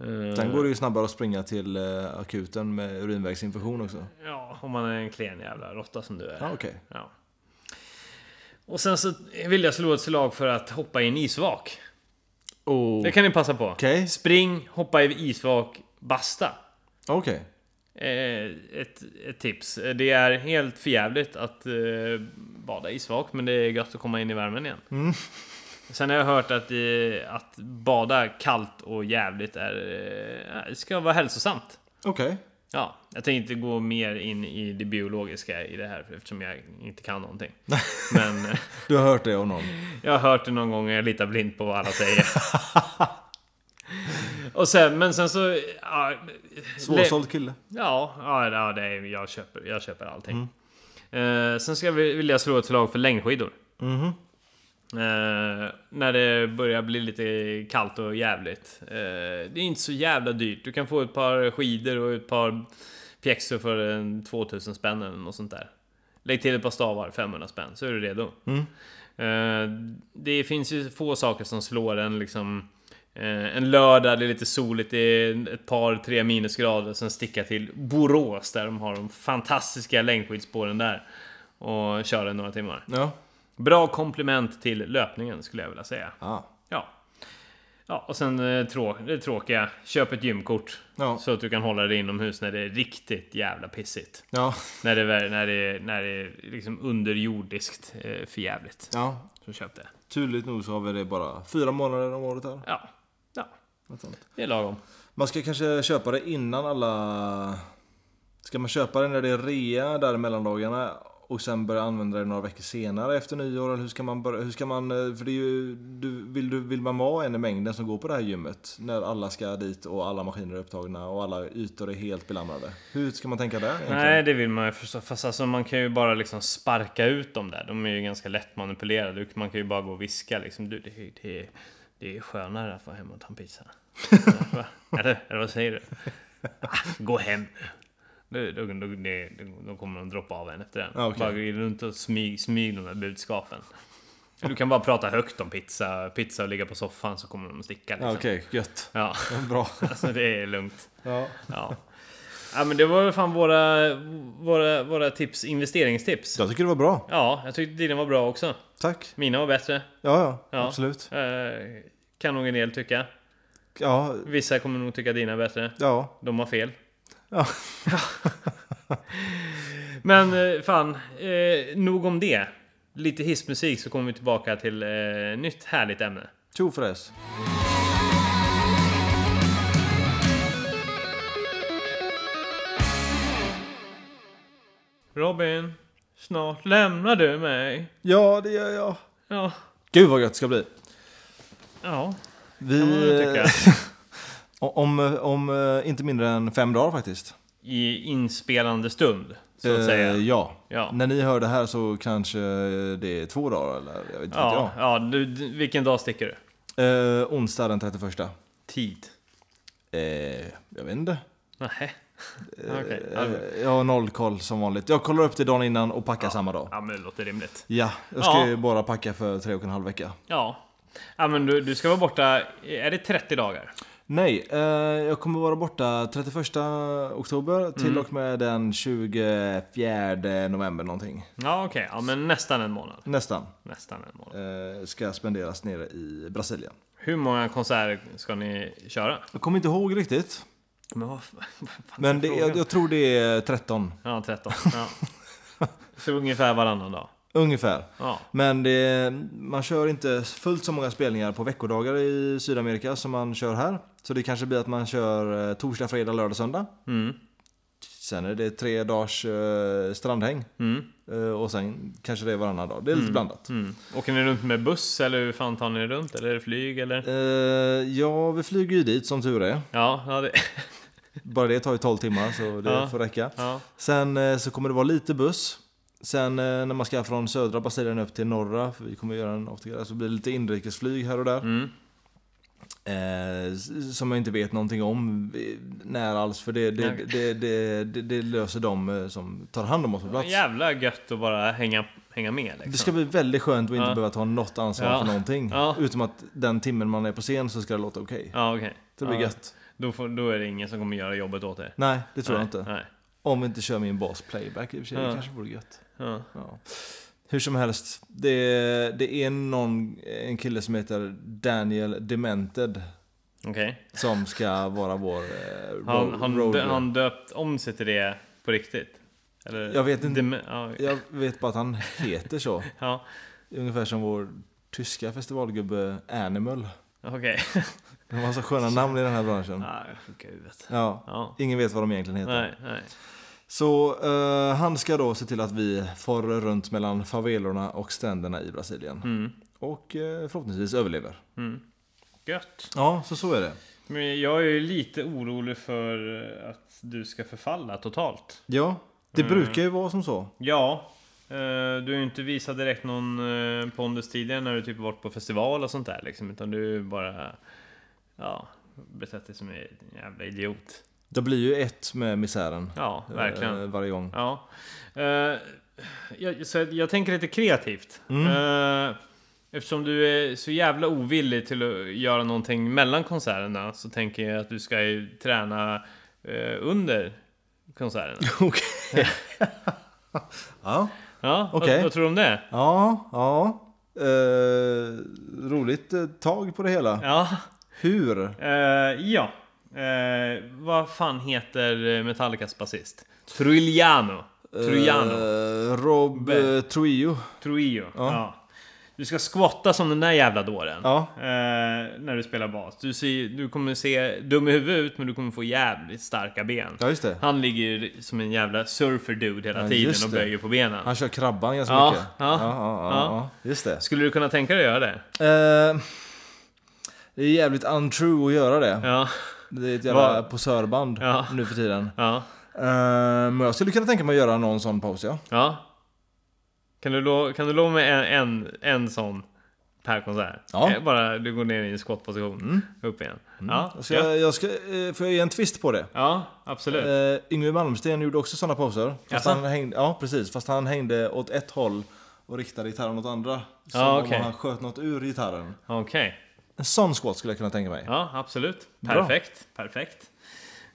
[SPEAKER 2] Eh,
[SPEAKER 1] Sen går det ju snabbare att springa till eh, akuten med urinvägsinfektion också.
[SPEAKER 2] Ja, om man är en klen jävla råtta som du är.
[SPEAKER 1] Ja, okej.
[SPEAKER 2] Ja. Och sen så vill jag slå ett slag för att hoppa i en isvak. Det
[SPEAKER 1] Okej.
[SPEAKER 2] kan ni passa på. Spring, hoppa i isvak, basta.
[SPEAKER 1] Okej.
[SPEAKER 2] Eh, ett, ett tips. Det är helt förjävligt att eh, bada isvak, men det är gött att komma in i värmen igen. Sen har jag hört att, eh, att bada kallt och jävligt är, eh, ska vara hälsosamt.
[SPEAKER 1] Okej.
[SPEAKER 2] Ja, jag tänkte inte gå mer in i det biologiska i det här eftersom jag inte kan någonting. Men eh,
[SPEAKER 1] Du har hört det av någon?
[SPEAKER 2] jag har hört det någon gång och jag litar blint på vad alla säger. Och sen, men sen så... Ja,
[SPEAKER 1] Svårsåld kille.
[SPEAKER 2] Ja, ja, ja det är, jag, köper, jag köper allting. Eh, sen ska jag vil- vilja slå ett slag för längdskidor.
[SPEAKER 1] Mhm.
[SPEAKER 2] Eh, när det börjar bli lite kallt och jävligt. Eh, det är inte så jävla dyrt. Du kan få ett par skidor och ett par pjäxor för en 2000 spänn eller något sånt där. Lägg till ett par stavar, 500 spänn, så är du redo. Eh, det finns ju få saker som slår en liksom eh, en lördag, det är lite soligt, det är ett par, tre minusgrader. Sen sticka till Borås där de har de fantastiska längdskidspåren där. Och köra några timmar.
[SPEAKER 1] Ja.
[SPEAKER 2] Bra komplement till löpningen skulle jag vilja säga.
[SPEAKER 1] Ah.
[SPEAKER 2] Ja. Ja, och sen eh, trå det tråkiga. Köp ett gymkort.
[SPEAKER 1] Ja.
[SPEAKER 2] Så att du kan hålla dig inomhus när det är riktigt jävla pissigt.
[SPEAKER 1] Ja.
[SPEAKER 2] När det är, när det är, när det är liksom underjordiskt eh, förjävligt.
[SPEAKER 1] Ja.
[SPEAKER 2] Så köp det.
[SPEAKER 1] Tydligt nog så har vi det bara fyra månader om året här.
[SPEAKER 2] Ja. Ja.
[SPEAKER 1] Något sånt.
[SPEAKER 2] Det är lagom.
[SPEAKER 1] Man ska kanske köpa det innan alla... Ska man köpa det när det är rea där i mellandagarna och sen börja använda det några veckor senare efter nyår? Eller hur ska man börja? Hur ska man... eh, För det är ju... Du, vill, du, vill man vara en i mängden som går på det här gymmet? När alla ska dit och alla maskiner är upptagna och alla ytor är helt belamrade. Hur ska man tänka där egentligen?
[SPEAKER 2] Nej, det vill man ju förstås. Fast alltså, man kan ju bara liksom sparka ut dem där. De är ju ganska lätt manipulerade. Man kan ju bara gå och viska liksom. Du, det, är- det, är- det är skönare att vara hemma och ta en pizza. eller, eller vad säger du? Ah, gå hem nu. Då, då, då, då, då kommer de droppa av en efter den.
[SPEAKER 1] Ja, Ah, okej.
[SPEAKER 2] Bara gå runt och smyg, smyg de där budskapen. Du kan bara prata högt om pizza, pizza och ligga på soffan så kommer de att sticka. Liksom.
[SPEAKER 1] Ja, Ah, Okej, gött.
[SPEAKER 2] Ja,
[SPEAKER 1] Bra.
[SPEAKER 2] alltså det är lugnt.
[SPEAKER 1] Ja.
[SPEAKER 2] Ja. ja men det var väl fan våra, våra, våra tips, investeringstips.
[SPEAKER 1] Jag tycker det var bra.
[SPEAKER 2] Ja, jag tyckte dina var bra också.
[SPEAKER 1] Tack.
[SPEAKER 2] Mina var bättre.
[SPEAKER 1] Ja, ja.
[SPEAKER 2] Ja.
[SPEAKER 1] Absolut.
[SPEAKER 2] Eh, kan nog en del tycka.
[SPEAKER 1] Ja.
[SPEAKER 2] Vissa kommer nog tycka dina är bättre.
[SPEAKER 1] Ja.
[SPEAKER 2] De har fel.
[SPEAKER 1] Ja.
[SPEAKER 2] Men eh, fan, eh, nog om det. Lite hissmusik så kommer vi tillbaka till eh, nytt härligt ämne.
[SPEAKER 1] Tjo fräs.
[SPEAKER 2] Robin, snart lämnar du mig.
[SPEAKER 1] Ja, det gör jag.
[SPEAKER 2] Ja,
[SPEAKER 1] Gud vad gött det ska bli.
[SPEAKER 2] ja,
[SPEAKER 1] Vi... eh,
[SPEAKER 2] kan man väl tycka.
[SPEAKER 1] Om, om eh, inte mindre än fem dagar faktiskt.
[SPEAKER 2] I inspelande stund, så att
[SPEAKER 1] Eh,
[SPEAKER 2] säga.
[SPEAKER 1] Ja.
[SPEAKER 2] Ja.
[SPEAKER 1] När ni hör det här så kanske det är två dagar eller jag vet inte.
[SPEAKER 2] Ja,
[SPEAKER 1] Ja.
[SPEAKER 2] ja du, du, vilken dag sticker du?
[SPEAKER 1] Eh, onsdag den 31. Eh,
[SPEAKER 2] Tid.
[SPEAKER 1] jag vet inte.
[SPEAKER 2] Nej. Okej. Ja, men-
[SPEAKER 1] Eh, jag har noll koll som vanligt. Jag kollar upp det dagen innan och packar samma dag.
[SPEAKER 2] Ja, men det låter rimligt.
[SPEAKER 1] Ja, jag ska
[SPEAKER 2] Ja.
[SPEAKER 1] ju bara packa för tre och en halv vecka.
[SPEAKER 2] Ja. Ja, men du, du ska vara borta, är det 30 dagar?
[SPEAKER 1] Nej, eh, jag kommer vara borta 31 oktober
[SPEAKER 2] Mm.
[SPEAKER 1] till och med den 24 november någonting.
[SPEAKER 2] Ja, okej. Ja, men nästan en månad.
[SPEAKER 1] Nästan.
[SPEAKER 2] Nästan en månad.
[SPEAKER 1] Eh, ska spenderas nere i Brasilien.
[SPEAKER 2] Hur många konserter ska ni köra?
[SPEAKER 1] Jag kommer inte ihåg riktigt.
[SPEAKER 2] Men vad fan- vad fan
[SPEAKER 1] Men
[SPEAKER 2] är
[SPEAKER 1] det, jag,
[SPEAKER 2] frågan?
[SPEAKER 1] jag tror det är 13
[SPEAKER 2] Ja, 13. Ja. Så ungefär varannan dag.
[SPEAKER 1] ungefär.
[SPEAKER 2] Ja.
[SPEAKER 1] Men det, man kör inte fullt så många spelningar på veckodagar i Sydamerika som man kör här. Så det kanske blir att man kör eh, torsdag, fredag, lördag, söndag.
[SPEAKER 2] Mm.
[SPEAKER 1] Sen är det tre dagars eh, strandhäng.
[SPEAKER 2] Mm.
[SPEAKER 1] Eh, och sen kanske det är varannan dag. Det är lite blandat.
[SPEAKER 2] Mm. Åker ni runt med buss eller hur fan tar ni er runt? Eller är det flyg eller?
[SPEAKER 1] Eh, ja, vi flyger ju dit som tur är.
[SPEAKER 2] Ja, ja, det,
[SPEAKER 1] Bara det tar ju 12 timmar så det
[SPEAKER 2] Ja.
[SPEAKER 1] får räcka.
[SPEAKER 2] ja.
[SPEAKER 1] Sen eh, så kommer det vara lite buss. Sen eh, när man ska från södra Brasilien upp till norra, för vi kommer göra en avtagare, så blir det lite inrikesflyg här och där.
[SPEAKER 2] Mm.
[SPEAKER 1] Eh, s- som jag inte vet någonting om eh, när alls, för det, det,
[SPEAKER 2] Nej.
[SPEAKER 1] det, det, det, det löser de eh, som tar hand om oss på plats.
[SPEAKER 2] Jävla gött att bara hänga, hänga med liksom.
[SPEAKER 1] Det ska bli väldigt skönt att inte
[SPEAKER 2] Ja.
[SPEAKER 1] behöva ta något ansvar
[SPEAKER 2] Ja.
[SPEAKER 1] för någonting.
[SPEAKER 2] Ja.
[SPEAKER 1] Utom att den timmen man är på scen så ska det låta okej.
[SPEAKER 2] Ja, okej.
[SPEAKER 1] Det blir
[SPEAKER 2] ja.
[SPEAKER 1] gött.
[SPEAKER 2] Då, får, då är det ingen som kommer göra jobbet åt er.
[SPEAKER 1] Nej, det tror jag
[SPEAKER 2] nej,
[SPEAKER 1] inte.
[SPEAKER 2] Nej.
[SPEAKER 1] Om vi inte kör min bas playback i och för sig. Det
[SPEAKER 2] Ja.
[SPEAKER 1] kanske vore gött.
[SPEAKER 2] Ja.
[SPEAKER 1] Ja. Hur som helst, det, det är någon, en kille som heter Daniel Demented
[SPEAKER 2] Okej.
[SPEAKER 1] som ska vara vår eh,
[SPEAKER 2] Har
[SPEAKER 1] ro-
[SPEAKER 2] han, han,
[SPEAKER 1] roadie.
[SPEAKER 2] dö- han döpt om sig till det på riktigt? Eller?
[SPEAKER 1] Jag vet inte.
[SPEAKER 2] Dem- ja, okej.
[SPEAKER 1] Jag vet bara att han heter så.
[SPEAKER 2] ja,
[SPEAKER 1] Ungefär som vår tyska festivalgubbe Animal.
[SPEAKER 2] okej.
[SPEAKER 1] De har så sköna namn i den här branschen.
[SPEAKER 2] Ja, jag är sjuk i huvudet.
[SPEAKER 1] Ja,
[SPEAKER 2] Ja.
[SPEAKER 1] ingen vet vad de egentligen heter.
[SPEAKER 2] Nej, nej.
[SPEAKER 1] Så eh, han ska då se till att vi far runt mellan favelorna och stränderna i Brasilien.
[SPEAKER 2] Mm.
[SPEAKER 1] Och eh, förhoppningsvis överlever.
[SPEAKER 2] Mm. Gött.
[SPEAKER 1] Ja, så så är det.
[SPEAKER 2] Men jag är ju lite orolig för eh, att du ska förfalla totalt.
[SPEAKER 1] Ja, det
[SPEAKER 2] Mm.
[SPEAKER 1] brukar ju vara som så.
[SPEAKER 2] Ja, eh, du har ju inte visat direkt någon eh, pondus tidigare när du typ varit på festival och sånt där liksom, utan du har ju bara ja, betett dig som en jävla idiot.
[SPEAKER 1] Det blir ju ett med misären.
[SPEAKER 2] Ja,
[SPEAKER 1] eh,
[SPEAKER 2] verkligen.
[SPEAKER 1] varje gång.
[SPEAKER 2] Ja. Eh, jag, så jag- jag tänker lite kreativt.
[SPEAKER 1] Mm.
[SPEAKER 2] Eh, eftersom du är så jävla ovillig till att göra någonting mellan konserterna så tänker jag att du ska ju träna eh, under konserterna.
[SPEAKER 1] Okej. ja.
[SPEAKER 2] Ja,
[SPEAKER 1] Okej.
[SPEAKER 2] vad, vad tror du om det?
[SPEAKER 1] Ja, ja. Eh, roligt eh, tag på det hela.
[SPEAKER 2] Ja,
[SPEAKER 1] Hur?
[SPEAKER 2] eh, ja. Eh, vad fan heter Metallicas basist? Trujano. Trujano.
[SPEAKER 1] Eh, Rob
[SPEAKER 2] Be-
[SPEAKER 1] uh, Trio.
[SPEAKER 2] Trujillo.
[SPEAKER 1] Ja.
[SPEAKER 2] Ja. Du ska skvatta som den där jävla dåren.
[SPEAKER 1] Ja.
[SPEAKER 2] Eh, när du spelar bas. Du, ser, du kommer se dum i huvudet ut, men du kommer få jävligt starka ben.
[SPEAKER 1] ja, just det.
[SPEAKER 2] Han ligger ju som en jävla surfer-dude hela
[SPEAKER 1] Ja,
[SPEAKER 2] tiden
[SPEAKER 1] just
[SPEAKER 2] och
[SPEAKER 1] det.
[SPEAKER 2] böjer på benen.
[SPEAKER 1] Han kör krabban ganska
[SPEAKER 2] Ja,
[SPEAKER 1] mycket.
[SPEAKER 2] ja,
[SPEAKER 1] ja,
[SPEAKER 2] ja.
[SPEAKER 1] ja, ja. Just det.
[SPEAKER 2] Skulle du kunna tänka dig att göra det?
[SPEAKER 1] Eh, det är jävligt untrue att göra det.
[SPEAKER 2] Ja.
[SPEAKER 1] Det är ett jävla
[SPEAKER 2] Vad-
[SPEAKER 1] posörband
[SPEAKER 2] Ja.
[SPEAKER 1] nu för tiden.
[SPEAKER 2] Ja.
[SPEAKER 1] Eh, men jag skulle kunna tänka mig att göra någon sån paus, ja.
[SPEAKER 2] ja. Kan du lo- kan du lova mig en, en, en sån per konsert?
[SPEAKER 1] Ja.
[SPEAKER 2] Eh, Bara du går ner i en squatposition. Upp igen. Ja.
[SPEAKER 1] Jag ska,
[SPEAKER 2] ja.
[SPEAKER 1] jag ska, eh, får jag ge en twist på det?
[SPEAKER 2] ja, absolut.
[SPEAKER 1] Uh, Yngwie Malmsteen gjorde också såna pauser. Fast
[SPEAKER 2] Jaså?
[SPEAKER 1] han hängde, ja, precis. Fast han hängde åt ett håll och riktade gitarren åt andra. Som
[SPEAKER 2] Ja,
[SPEAKER 1] om
[SPEAKER 2] okej.
[SPEAKER 1] han sköt något ur gitarren.
[SPEAKER 2] Okej.
[SPEAKER 1] En sån squat skulle jag kunna tänka mig.
[SPEAKER 2] Ja, absolut.
[SPEAKER 1] Bra.
[SPEAKER 2] Perfekt. Perfekt.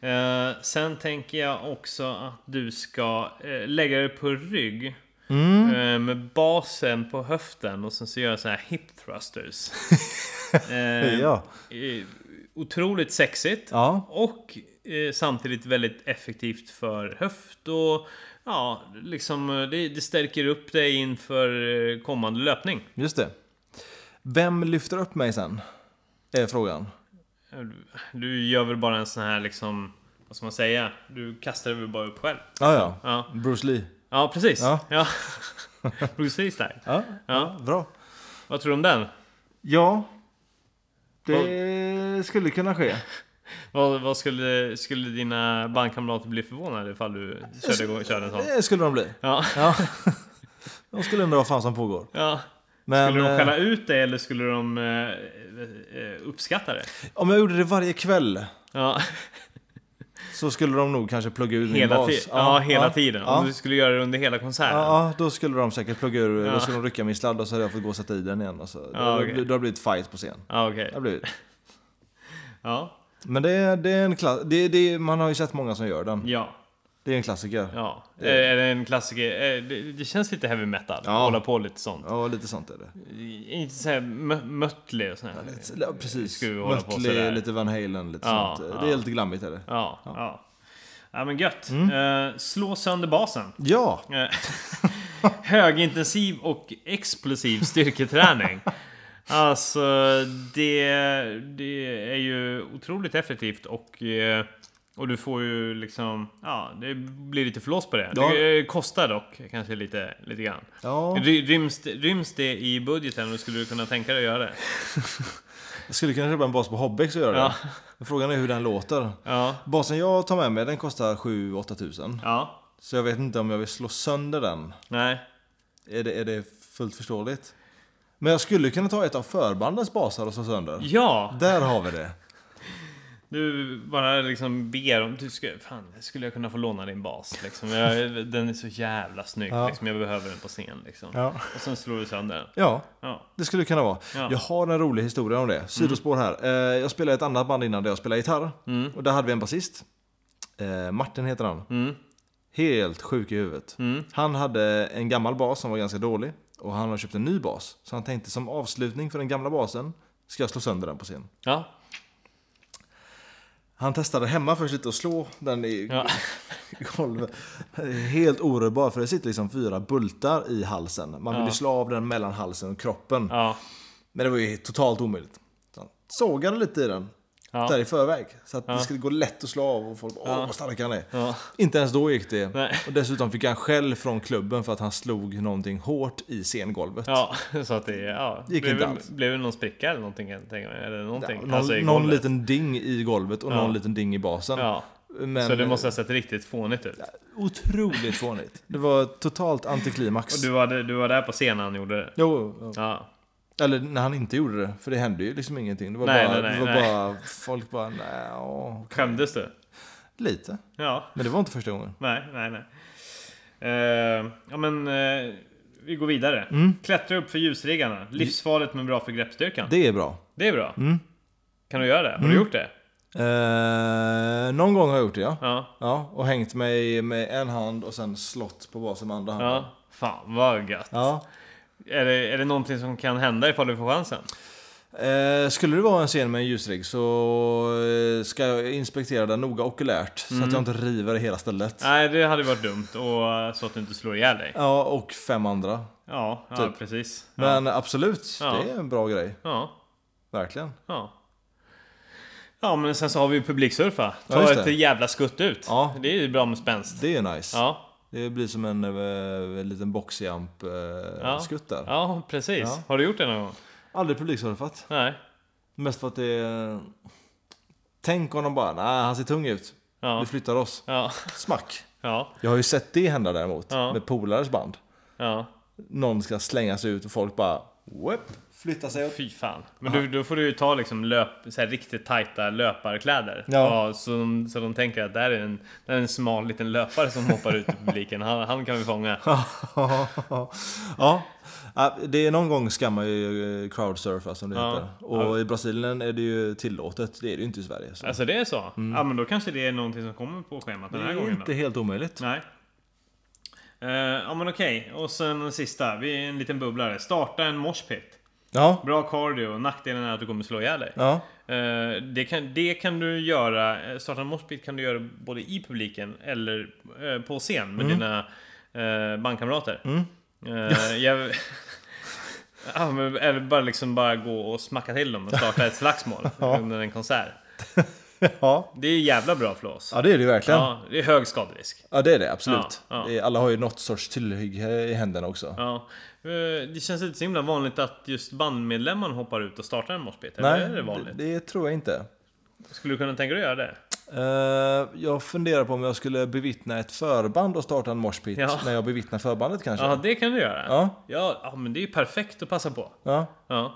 [SPEAKER 2] Eh, sen tänker jag också att du ska eh, lägga dig på rygg
[SPEAKER 1] Mm.
[SPEAKER 2] eh, med basen på höften och sen så göra så här hip thrusters. Eh,
[SPEAKER 1] Ja.
[SPEAKER 2] eh, Otroligt sexigt
[SPEAKER 1] Ja.
[SPEAKER 2] och eh, samtidigt väldigt effektivt för höft och ja, liksom eh, det, det stärker upp dig inför eh, kommande löpning.
[SPEAKER 1] Just det. Vem lyfter upp mig sen? Är frågan.
[SPEAKER 2] Du gör väl bara en sån här liksom, vad ska man säga? Du kastar väl bara upp själv?
[SPEAKER 1] Ja, ja.
[SPEAKER 2] Ja,
[SPEAKER 1] Bruce Lee.
[SPEAKER 2] ja precis.
[SPEAKER 1] Ja.
[SPEAKER 2] Ja. precis där.
[SPEAKER 1] Ja,
[SPEAKER 2] Ja.
[SPEAKER 1] bra.
[SPEAKER 2] Vad tror du om den?
[SPEAKER 1] Ja. Det skulle kunna ske.
[SPEAKER 2] Vad, vad skulle, skulle dina bandkamrater bli förvånade ifall du körde, igång- körde en sån?
[SPEAKER 1] Det skulle de bli.
[SPEAKER 2] Ja.
[SPEAKER 1] Ja. De skulle undra vad fan som pågår.
[SPEAKER 2] ja.
[SPEAKER 1] Men,
[SPEAKER 2] Skulle de
[SPEAKER 1] eh,
[SPEAKER 2] skälla ut dig eller skulle de eh, eh, uppskatta det?
[SPEAKER 1] Om jag gjorde det varje kväll
[SPEAKER 2] Ja,
[SPEAKER 1] så skulle de nog kanske plugga ur min
[SPEAKER 2] hela,
[SPEAKER 1] bas.
[SPEAKER 2] ti- ja, hela tiden.
[SPEAKER 1] Ja.
[SPEAKER 2] Om du skulle göra det under hela konserten.
[SPEAKER 1] Ja, ja, då skulle de säkert plugga ur, då
[SPEAKER 2] Ja.
[SPEAKER 1] skulle de rycka min sladd och så hade jag fått gå och sätta i den igen. Och så.
[SPEAKER 2] Ja,
[SPEAKER 1] då,
[SPEAKER 2] okej.
[SPEAKER 1] då, då har det blivit fight på scen.
[SPEAKER 2] Ja, okej.
[SPEAKER 1] Det har blivit.
[SPEAKER 2] Ja.
[SPEAKER 1] Men det, är- det är en klass, det, det, man har ju sett många som gör den.
[SPEAKER 2] ja.
[SPEAKER 1] Det är en klassiker. Ja,
[SPEAKER 2] Ja, Eh, är det en klassiker? Eh, Det, det känns lite heavy metal,
[SPEAKER 1] Ja.
[SPEAKER 2] hålla på lite sånt.
[SPEAKER 1] lite sånt är det.
[SPEAKER 2] Inte såhär mö- Mötley och sånt här.
[SPEAKER 1] Lite, ja, precis.
[SPEAKER 2] Skulle vi hålla på
[SPEAKER 1] Mötley,
[SPEAKER 2] sådär.
[SPEAKER 1] lite Van Halen, lite
[SPEAKER 2] Ja,
[SPEAKER 1] sånt.
[SPEAKER 2] ja.
[SPEAKER 1] Det är lite glammigt är det.
[SPEAKER 2] Ja, ja. ja. men gött. Eh, slå sönder basen.
[SPEAKER 1] Ja,
[SPEAKER 2] Eh, högintensiv och explosiv styrketräning. Alltså, det, det är ju otroligt effektivt och, eh, och du får ju liksom... Ja, det blir lite flås på det.
[SPEAKER 1] Ja.
[SPEAKER 2] Det eh, kostar dock kanske lite, lite grann.
[SPEAKER 1] ja.
[SPEAKER 2] Ry- Ryms, det- ryms det i budgeten och skulle du kunna tänka dig att göra det?
[SPEAKER 1] Jag skulle kunna köpa en bas på Hobbex och göra
[SPEAKER 2] Ja.
[SPEAKER 1] det. Men Frågan är hur den låter.
[SPEAKER 2] Ja.
[SPEAKER 1] Basen jag tar med mig den kostar 7-8 tusen.
[SPEAKER 2] Ja.
[SPEAKER 1] Så jag vet inte om jag vill slå sönder den.
[SPEAKER 2] Nej.
[SPEAKER 1] Är det, är det fullt förståeligt? Men jag skulle kunna ta ett av förbandens basar och slå sönder.
[SPEAKER 2] Ja.
[SPEAKER 1] Där har vi det.
[SPEAKER 2] Du bara liksom ber om... Du ska, fan, skulle jag kunna få låna din bas? Liksom. Jag, den är så jävla snygg.
[SPEAKER 1] Ja.
[SPEAKER 2] Liksom. Jag behöver den på scen. Liksom.
[SPEAKER 1] Ja.
[SPEAKER 2] Och sen slår du sönder den.
[SPEAKER 1] ja,
[SPEAKER 2] Ja.
[SPEAKER 1] det skulle det kunna vara.
[SPEAKER 2] Ja.
[SPEAKER 1] Jag har en rolig historia om det. Sidospår här. Eh, Jag spelade i ett annat band innan där jag spelade gitarr.
[SPEAKER 2] Mm.
[SPEAKER 1] Och där hade vi en basist. Eh, Martin heter han.
[SPEAKER 2] Mm.
[SPEAKER 1] Helt sjuk i huvudet.
[SPEAKER 2] Mm.
[SPEAKER 1] Han hade en gammal bas som var ganska dålig. Och han har köpt en ny bas. Så han tänkte som avslutning för den gamla basen ska jag slå sönder den på scen.
[SPEAKER 2] Ja.
[SPEAKER 1] Han testade hemma först lite att slå den i
[SPEAKER 2] Ja.
[SPEAKER 1] golvet. Helt orörbar för det sitter liksom fyra bultar i halsen. Man vill
[SPEAKER 2] Ja.
[SPEAKER 1] ju slå av den mellan halsen och kroppen.
[SPEAKER 2] Ja.
[SPEAKER 1] Men det var ju totalt omöjligt. Så han sågade lite i den.
[SPEAKER 2] Ja.
[SPEAKER 1] Där i förväg. Så att
[SPEAKER 2] Ja.
[SPEAKER 1] det skulle gå lätt att slå av och folk bara åh vad stark han är.
[SPEAKER 2] Ja.
[SPEAKER 1] Inte ens då gick det.
[SPEAKER 2] Nej.
[SPEAKER 1] Och dessutom fick han skäll från klubben för att han slog någonting hårt i scengolvet.
[SPEAKER 2] Ja, så att det... Ja.
[SPEAKER 1] Gick
[SPEAKER 2] blev,
[SPEAKER 1] inte alls.
[SPEAKER 2] blev det någon spricka eller någonting? kan jag tänka mig, Eller
[SPEAKER 1] Ja,
[SPEAKER 2] någonting.
[SPEAKER 1] någon
[SPEAKER 2] Alltså i
[SPEAKER 1] någon
[SPEAKER 2] golvet.
[SPEAKER 1] liten ding i golvet och
[SPEAKER 2] Ja.
[SPEAKER 1] någon liten ding i basen.
[SPEAKER 2] Ja.
[SPEAKER 1] Men,
[SPEAKER 2] så det måste ha sett riktigt fånigt ut.
[SPEAKER 1] Otroligt fånigt. Det var totalt antiklimax.
[SPEAKER 2] Och du var, du var där på scenen när han gjorde det?
[SPEAKER 1] Jo, jo.
[SPEAKER 2] Ja.
[SPEAKER 1] eller när han inte gjorde det, för det hände ju liksom ingenting. Det var,
[SPEAKER 2] Nej, nej,
[SPEAKER 1] bara,
[SPEAKER 2] nej,
[SPEAKER 1] det var
[SPEAKER 2] nej.
[SPEAKER 1] bara, folk bara, nej, åh,
[SPEAKER 2] Skämdes du?
[SPEAKER 1] lite.
[SPEAKER 2] Ja.
[SPEAKER 1] Men det var inte första gången.
[SPEAKER 2] Nej, nej, nej. Eh, ja, men eh, vi går vidare. Klättra upp för ljusriggarna. Livsfarligt men bra för greppstyrkan. Det,
[SPEAKER 1] Mm. Det Mm. är bra. Mm.
[SPEAKER 2] är bra. Kan du göra det? Har du gjort det?
[SPEAKER 1] Eh, någon gång har jag gjort det, ja.
[SPEAKER 2] Ja.
[SPEAKER 1] Ja, och hängt mig med en hand och sen slått på basen med andra handen.
[SPEAKER 2] ja. Fan vad gött.
[SPEAKER 1] Ja.
[SPEAKER 2] Är, det, är det någonting som kan hända ifall du får chansen?
[SPEAKER 1] Eh, skulle det vara en scen med en ljusrigg så eh, ska jag inspektera den noga okulärt
[SPEAKER 2] Mm.
[SPEAKER 1] så att jag inte river hela stället.
[SPEAKER 2] Nej, det hade varit dumt. Och, eh, så att du inte slår ihjäl dig.
[SPEAKER 1] Ja, och fem andra.
[SPEAKER 2] Ja, ja
[SPEAKER 1] Typ.
[SPEAKER 2] precis. Ja.
[SPEAKER 1] Men absolut,
[SPEAKER 2] Ja.
[SPEAKER 1] det är en bra grej.
[SPEAKER 2] Ja,
[SPEAKER 1] Verkligen.
[SPEAKER 2] ja. Ja, men sen så har vi ju publiksurfa. Ta
[SPEAKER 1] Ja, just
[SPEAKER 2] ett
[SPEAKER 1] det.
[SPEAKER 2] jävla skutt ut.
[SPEAKER 1] Ja.
[SPEAKER 2] Det är ju bra med spänst.
[SPEAKER 1] Det är nice.
[SPEAKER 2] Ja.
[SPEAKER 1] Det blir som en eh, liten boxjump-skutt där.
[SPEAKER 2] ja, precis.
[SPEAKER 1] Ja.
[SPEAKER 2] Har du gjort det någon gång?
[SPEAKER 1] Aldrig publiksurfat.
[SPEAKER 2] Nej.
[SPEAKER 1] Mest för att det är... Tänk om de bara, nej han ser tung ut.
[SPEAKER 2] Ja.
[SPEAKER 1] Vi flyttar oss.
[SPEAKER 2] Ja,
[SPEAKER 1] Smack.
[SPEAKER 2] ja,
[SPEAKER 1] Jag har ju sett det hända däremot.
[SPEAKER 2] Ja.
[SPEAKER 1] Med polares band.
[SPEAKER 2] ja.
[SPEAKER 1] Någon ska slängas ut och folk bara... Whoop, flyttar sig upp.
[SPEAKER 2] Fy fan. Men du, då får du ju ta liksom löp, så här riktigt tajta löparkläder.
[SPEAKER 1] Ja.
[SPEAKER 2] så, de, så de tänker att där är, en, där är en smal liten löpare som hoppar ut i publiken. Han, han kan vi fånga.
[SPEAKER 1] ja. Ja, Det är någon gång ska man ju eh, crowdsurfa som det
[SPEAKER 2] Ja.
[SPEAKER 1] heter. Och i Brasilien är det ju tillåtet. Det är det ju inte i Sverige. Så.
[SPEAKER 2] Alltså det är så? Ja men då kanske det är någonting som kommer på schemat den
[SPEAKER 1] Mm. Det
[SPEAKER 2] här
[SPEAKER 1] är
[SPEAKER 2] gången då.
[SPEAKER 1] inte helt omöjligt.
[SPEAKER 2] Nej. Eh, ja men okej, och sen den sista. Vi är en liten bubblare. Starta en moshpit.
[SPEAKER 1] Ja.
[SPEAKER 2] Bra cardio, nackdelen är att du kommer slå ihjäl dig.
[SPEAKER 1] ja.
[SPEAKER 2] Eh, det, kan, det kan du göra, eh, starta en moshpit kan du göra både i publiken eller eh, på scen med
[SPEAKER 1] Mm.
[SPEAKER 2] dina eh, bandkamrater. Eh, jag, ja, men, eller bara liksom bara gå och smacka till dem och starta ett slagsmål under en konsert.
[SPEAKER 1] Ja.
[SPEAKER 2] Det är jävla bra för oss.
[SPEAKER 1] ja, det är det ju verkligen.
[SPEAKER 2] Ja, det är hög skaderisk.
[SPEAKER 1] Ja det är det, absolut.
[SPEAKER 2] Ja, ja.
[SPEAKER 1] Det är- Alla har ju något sorts tillhygg i händerna också.
[SPEAKER 2] Ja. Eh, Det känns inte så himla vanligt att just bandmedlemmen hoppar ut och startar en moshpit.
[SPEAKER 1] Nej,
[SPEAKER 2] Eller är det vanligt?
[SPEAKER 1] Det, det tror jag inte.
[SPEAKER 2] Skulle du kunna tänka dig att göra det?
[SPEAKER 1] Eh, jag funderar på om jag skulle bevittna ett förband och starta en moshpit
[SPEAKER 2] Ja.
[SPEAKER 1] när jag bevittnar förbandet kanske.
[SPEAKER 2] Ja,
[SPEAKER 1] Ja.
[SPEAKER 2] det kan du göra.
[SPEAKER 1] Ja.
[SPEAKER 2] Ja, ja, men det är ju perfekt att passa på. Ja.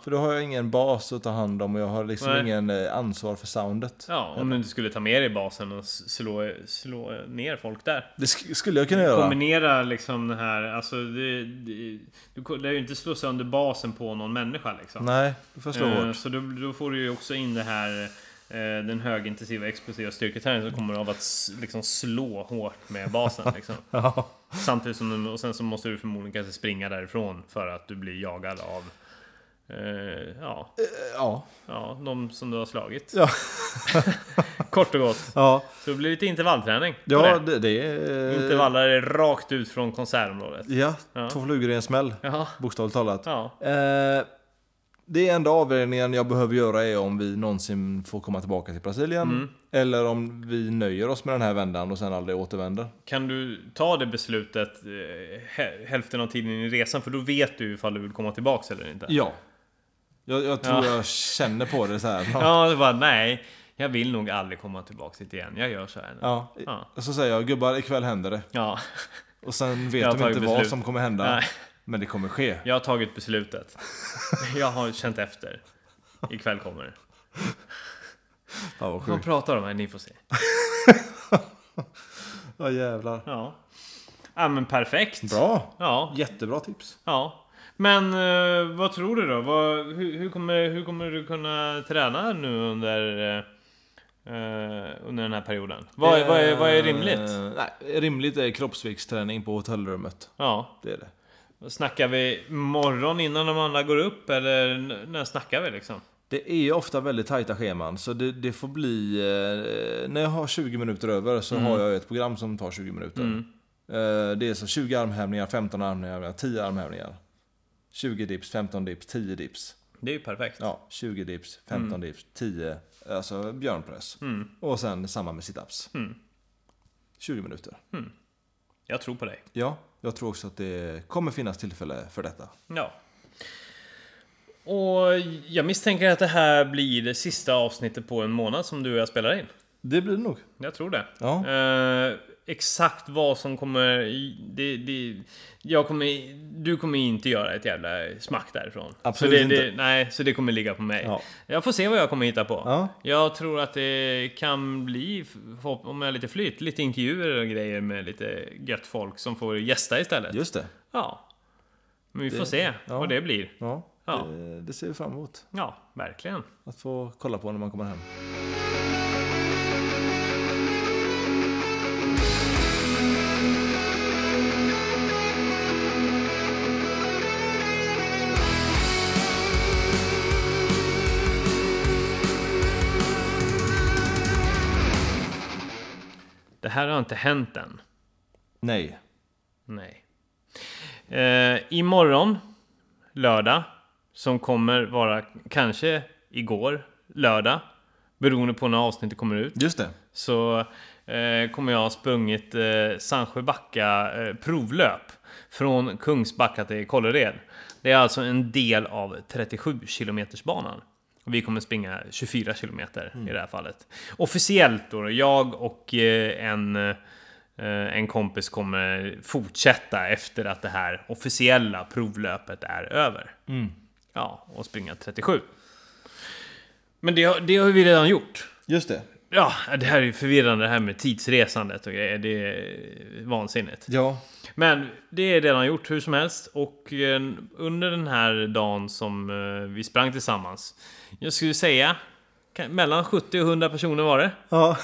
[SPEAKER 1] För då har jag ingen bas att ta hand om och jag har liksom
[SPEAKER 2] Nej.
[SPEAKER 1] ingen eh, ansvar för soundet.
[SPEAKER 2] Ja, om du inte skulle ta med dig basen och s- slå, slå ner folk där.
[SPEAKER 1] Det sk- skulle jag kunna göra.
[SPEAKER 2] Kombinera liksom den här, alltså det, det, du ko- lär ju inte slå sönder basen på någon människa liksom.
[SPEAKER 1] Nej, då får jag slå
[SPEAKER 2] Eh,
[SPEAKER 1] hårt.
[SPEAKER 2] Så då, då får du ju också in det här eh, den högintensiva explosiva styrketräningen som kommer av att s- liksom slå hårt med basen. Liksom.
[SPEAKER 1] Ja.
[SPEAKER 2] Samtidigt som du, och sen så måste du förmodligen kanske springa därifrån för att du blir jagad av eh, ja,
[SPEAKER 1] Ja.
[SPEAKER 2] ja, de som du har slagit.
[SPEAKER 1] Ja.
[SPEAKER 2] Kort och gott.
[SPEAKER 1] Ja,
[SPEAKER 2] Så det blir lite intervallträning. på
[SPEAKER 1] ja
[SPEAKER 2] det.
[SPEAKER 1] det, det är...
[SPEAKER 2] Intervallar är rakt ut från konsertområdet.
[SPEAKER 1] Ja,
[SPEAKER 2] Ja.
[SPEAKER 1] två flugor i en smäll.
[SPEAKER 2] Ja,
[SPEAKER 1] Bokstavligt talat.
[SPEAKER 2] ja,
[SPEAKER 1] Eh, det enda avvägningen jag behöver göra är om vi någonsin får komma tillbaka till Brasilien.
[SPEAKER 2] Mm.
[SPEAKER 1] Eller om vi nöjer oss med den här vändan och sen aldrig återvänder.
[SPEAKER 2] Kan du ta det beslutet eh, hä- hälften av tiden i resan? För då vet du ifall du vill komma tillbaks eller inte.
[SPEAKER 1] Ja. Jag, jag tror
[SPEAKER 2] Ja.
[SPEAKER 1] jag känner på det så här. Ja.
[SPEAKER 2] Ja, det var nej. Jag vill nog aldrig komma tillbaks hit igen. Jag gör så här nu. Ja.
[SPEAKER 1] Och Så säger jag, gubbar ikväll händer det.
[SPEAKER 2] Ja,
[SPEAKER 1] Och sen vet
[SPEAKER 2] Jag har
[SPEAKER 1] de inte
[SPEAKER 2] tagit
[SPEAKER 1] vad
[SPEAKER 2] beslut.
[SPEAKER 1] som kommer hända.
[SPEAKER 2] Nej.
[SPEAKER 1] Men det kommer ske.
[SPEAKER 2] jag har tagit beslutet. Jag har känt efter. Ikväll kommer det.
[SPEAKER 1] Fan vad
[SPEAKER 2] Vad
[SPEAKER 1] sjukt.
[SPEAKER 2] pratar de här? Ni får se.
[SPEAKER 1] Ja jävlar.
[SPEAKER 2] Ja. Ja men perfekt.
[SPEAKER 1] Bra.
[SPEAKER 2] Ja.
[SPEAKER 1] Jättebra tips.
[SPEAKER 2] Ja. Men eh, vad tror du då? Vad, hur, hur, kommer, hur kommer du kunna träna nu under, eh, eh, under den här perioden? Vad, är- vad, är, vad är rimligt?
[SPEAKER 1] Eh, Nej, rimligt är kroppsviktsträning på hotellrummet.
[SPEAKER 2] Ja.
[SPEAKER 1] Det är det.
[SPEAKER 2] Snackar vi morgon innan de andra går upp eller n- när snackar vi liksom?
[SPEAKER 1] Det är ju ofta väldigt tajta scheman, så det, det får bli... Eh, när jag har 20 minuter över så har jag ett program som tar 20 minuter.
[SPEAKER 2] Mm.
[SPEAKER 1] Eh, det är så 20 armhävningar, 15 armhävningar, 10 armhävningar. 20 dips, 15 dips, 10 dips.
[SPEAKER 2] Det är ju perfekt.
[SPEAKER 1] Ja, 20 dips, 15 dips, 10, alltså björnpress. Och sen samma med situps.
[SPEAKER 2] Mm.
[SPEAKER 1] 20 minuter.
[SPEAKER 2] Jag tror på dig.
[SPEAKER 1] Ja, jag tror också att det kommer finnas tillfälle för detta.
[SPEAKER 2] Ja. Och jag misstänker att det här blir det sista avsnittet på en månad som du och jag spelar in.
[SPEAKER 1] Det blir det nog.
[SPEAKER 2] Jag tror det.
[SPEAKER 1] Ja.
[SPEAKER 2] Eh, exakt vad som kommer... i- Det, det, jag kommer du kommer inte göra ett jävla smack därifrån.
[SPEAKER 1] Absolut
[SPEAKER 2] så det, det,
[SPEAKER 1] inte.
[SPEAKER 2] Nej, så det kommer ligga på mig.
[SPEAKER 1] Ja.
[SPEAKER 2] Jag får se vad jag kommer hitta på.
[SPEAKER 1] Ja.
[SPEAKER 2] Jag tror att det kan bli, förhopp- om jag har lite flyt, lite intervjuer och grejer med lite gött folk som får gästa istället.
[SPEAKER 1] Just det.
[SPEAKER 2] Ja. Men vi får se
[SPEAKER 1] ja.
[SPEAKER 2] vad det blir.
[SPEAKER 1] Ja,
[SPEAKER 2] Ja.
[SPEAKER 1] Det, det ser vi fram emot.
[SPEAKER 2] Ja, verkligen.
[SPEAKER 1] Att få kolla på när man kommer hem.
[SPEAKER 2] Det här har inte hänt än.
[SPEAKER 1] Nej.
[SPEAKER 2] Nej. Eh, imorgon, lördag, som kommer vara kanske igår, lördag, beroende på när avsnittet kommer ut,
[SPEAKER 1] Just det.
[SPEAKER 2] så eh, kommer jag ha sprungit eh, Sandsjöbacka eh, provlöp från Kungsbacka till Kållered. Det är alltså en del av 37 kilometersbanan. Och vi kommer springa 24 kilometer i det här fallet. Officiellt då, jag och eh, en, eh, en kompis kommer fortsätta efter att det här officiella provlöpet är över. Ja, och springa 37. Men det, har- det har vi redan gjort.
[SPEAKER 1] Just det.
[SPEAKER 2] Ja, det här är ju förvirrande det här med tidsresandet och grejer. Det är vansinnigt.
[SPEAKER 1] Ja.
[SPEAKER 2] Men det är redan gjort hur som helst och eh, under den här dagen som eh, vi sprang tillsammans. Jag skulle säga kan- mellan 70 och 100 personer var det.
[SPEAKER 1] Ja.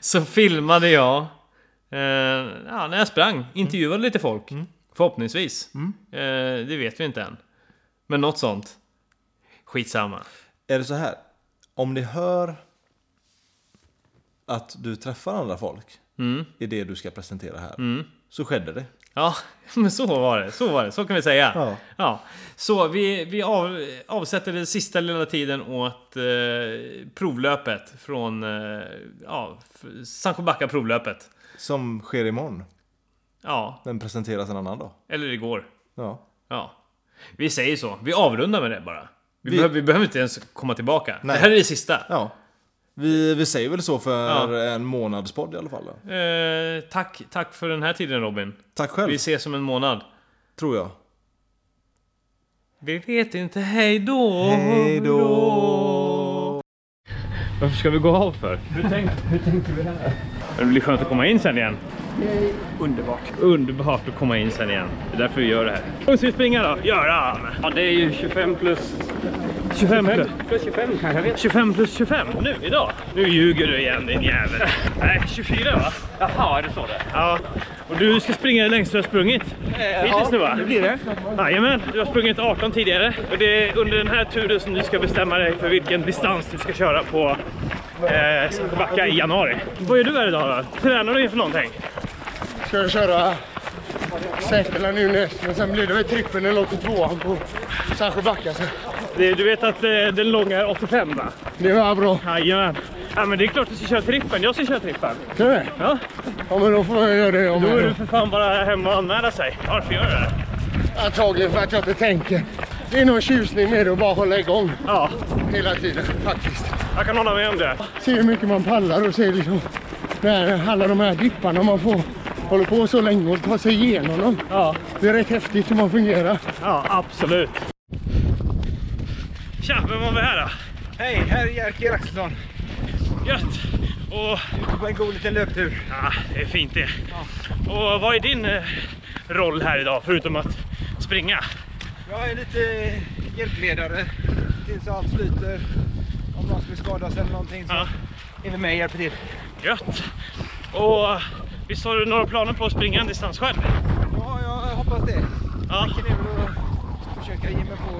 [SPEAKER 2] Så filmade jag eh, ja, när jag sprang. Intervjuade lite folk. Förhoppningsvis. Eh, det vet vi inte än. Men något sånt. Skitsamma.
[SPEAKER 1] Är det så här? Om ni hör att du träffar andra folk
[SPEAKER 2] Mm.
[SPEAKER 1] i det du ska presentera här,
[SPEAKER 2] Mm.
[SPEAKER 1] så skedde det.
[SPEAKER 2] Ja, men så var det. Så var det. Så kan vi säga.
[SPEAKER 1] Ja.
[SPEAKER 2] Ja, så vi, vi av, avsätter den sista lilla tiden åt eh, provlöpet från eh, ja, f- Sandsjöbacka provlöpet.
[SPEAKER 1] Som sker imorgon.
[SPEAKER 2] Ja,
[SPEAKER 1] Den presenteras en annan dag.
[SPEAKER 2] eller igår.
[SPEAKER 1] Ja.
[SPEAKER 2] Ja, vi säger så. Vi avrundar med det bara. Vi,
[SPEAKER 1] Vi-
[SPEAKER 2] behöver- vi behöver inte ens komma tillbaka.
[SPEAKER 1] Nej.
[SPEAKER 2] Det här är det sista.
[SPEAKER 1] ja. Vi, vi säger väl så för en månadspodd i alla fall.
[SPEAKER 2] Eh, tack, tack för den här tiden Robin.
[SPEAKER 1] Tack själv,
[SPEAKER 2] Vi ses om en månad.
[SPEAKER 1] tror jag.
[SPEAKER 2] Vi vet inte. Hej då!
[SPEAKER 1] Hej då!
[SPEAKER 2] Varför ska vi gå av för? Hur tänkte, hur tänkte vi här? Det blir skönt att komma in sen igen. Underbart. Underbart att komma in sen igen. Det är därför vi gör det här. Och ska vi springa då? Göran!
[SPEAKER 3] Ja, det är ju 25 plus
[SPEAKER 2] 25 plus,
[SPEAKER 3] 25 kanske. Jag vet.
[SPEAKER 2] 25 plus 25 nu idag. Nu ljuger du igen din jävel. Nej, 24 va?
[SPEAKER 3] Jaha, är Eh, det så det
[SPEAKER 2] Ja. Och du ska springa det längsta du har sprungit. Hittills nu va? Det blir det. Jajamän, du har sprungit 18 tidigare. Och det är under den här turen som du ska bestämma dig för vilken distans du ska köra på eh, Sandsjöbacka i januari. Vad gör du här idag då? Tränar du inför någonting?
[SPEAKER 4] Ska jag köra Sätela nu näst, men sen blir det väl trippen eller 82an på Sandsjöbacka. så
[SPEAKER 2] Det, du vet att eh, den långa är 85 va?
[SPEAKER 4] Det var bra.
[SPEAKER 2] Jajamän. Ja men det är klart du ska köra trippen. Jag ska köra trippen.
[SPEAKER 4] Ska du det?
[SPEAKER 2] Ja.
[SPEAKER 4] Ja, men då får jag göra det om
[SPEAKER 2] Då är du
[SPEAKER 4] jag
[SPEAKER 2] för fan bara hemma och anmäla sig. Varför gör du det?
[SPEAKER 4] Antagligen för att jag inte tänker. Det är någon tjusning med att bara hålla igång
[SPEAKER 2] Ja,
[SPEAKER 4] hela tiden faktiskt.
[SPEAKER 2] jag kan hålla med om det.
[SPEAKER 4] Se hur mycket man pallar och se liksom när alla de här dipparna man får håller på så länge och tar sig igenom dem.
[SPEAKER 2] Ja.
[SPEAKER 4] Det är rätt häftigt hur man fungerar.
[SPEAKER 2] Ja, absolut. Tja, vem var vi här då?
[SPEAKER 5] Hej, här är Jerker Axelsson.
[SPEAKER 6] Gött! Och
[SPEAKER 5] Ute på en god liten löptur.
[SPEAKER 6] ja, det är fint det. Och vad är din eh, roll här idag förutom att springa?
[SPEAKER 5] Jag är lite eh, hjälpledare tills allt flyter. Om någon skulle skadas eller någonting så
[SPEAKER 6] Ja.
[SPEAKER 5] är vi med och hjälper till.
[SPEAKER 6] Gött! Och visst har du några planer på att springa en distans själv?
[SPEAKER 5] Ja, jag hoppas det.
[SPEAKER 6] Ja,
[SPEAKER 5] Tanken är väl att försöka ge mig på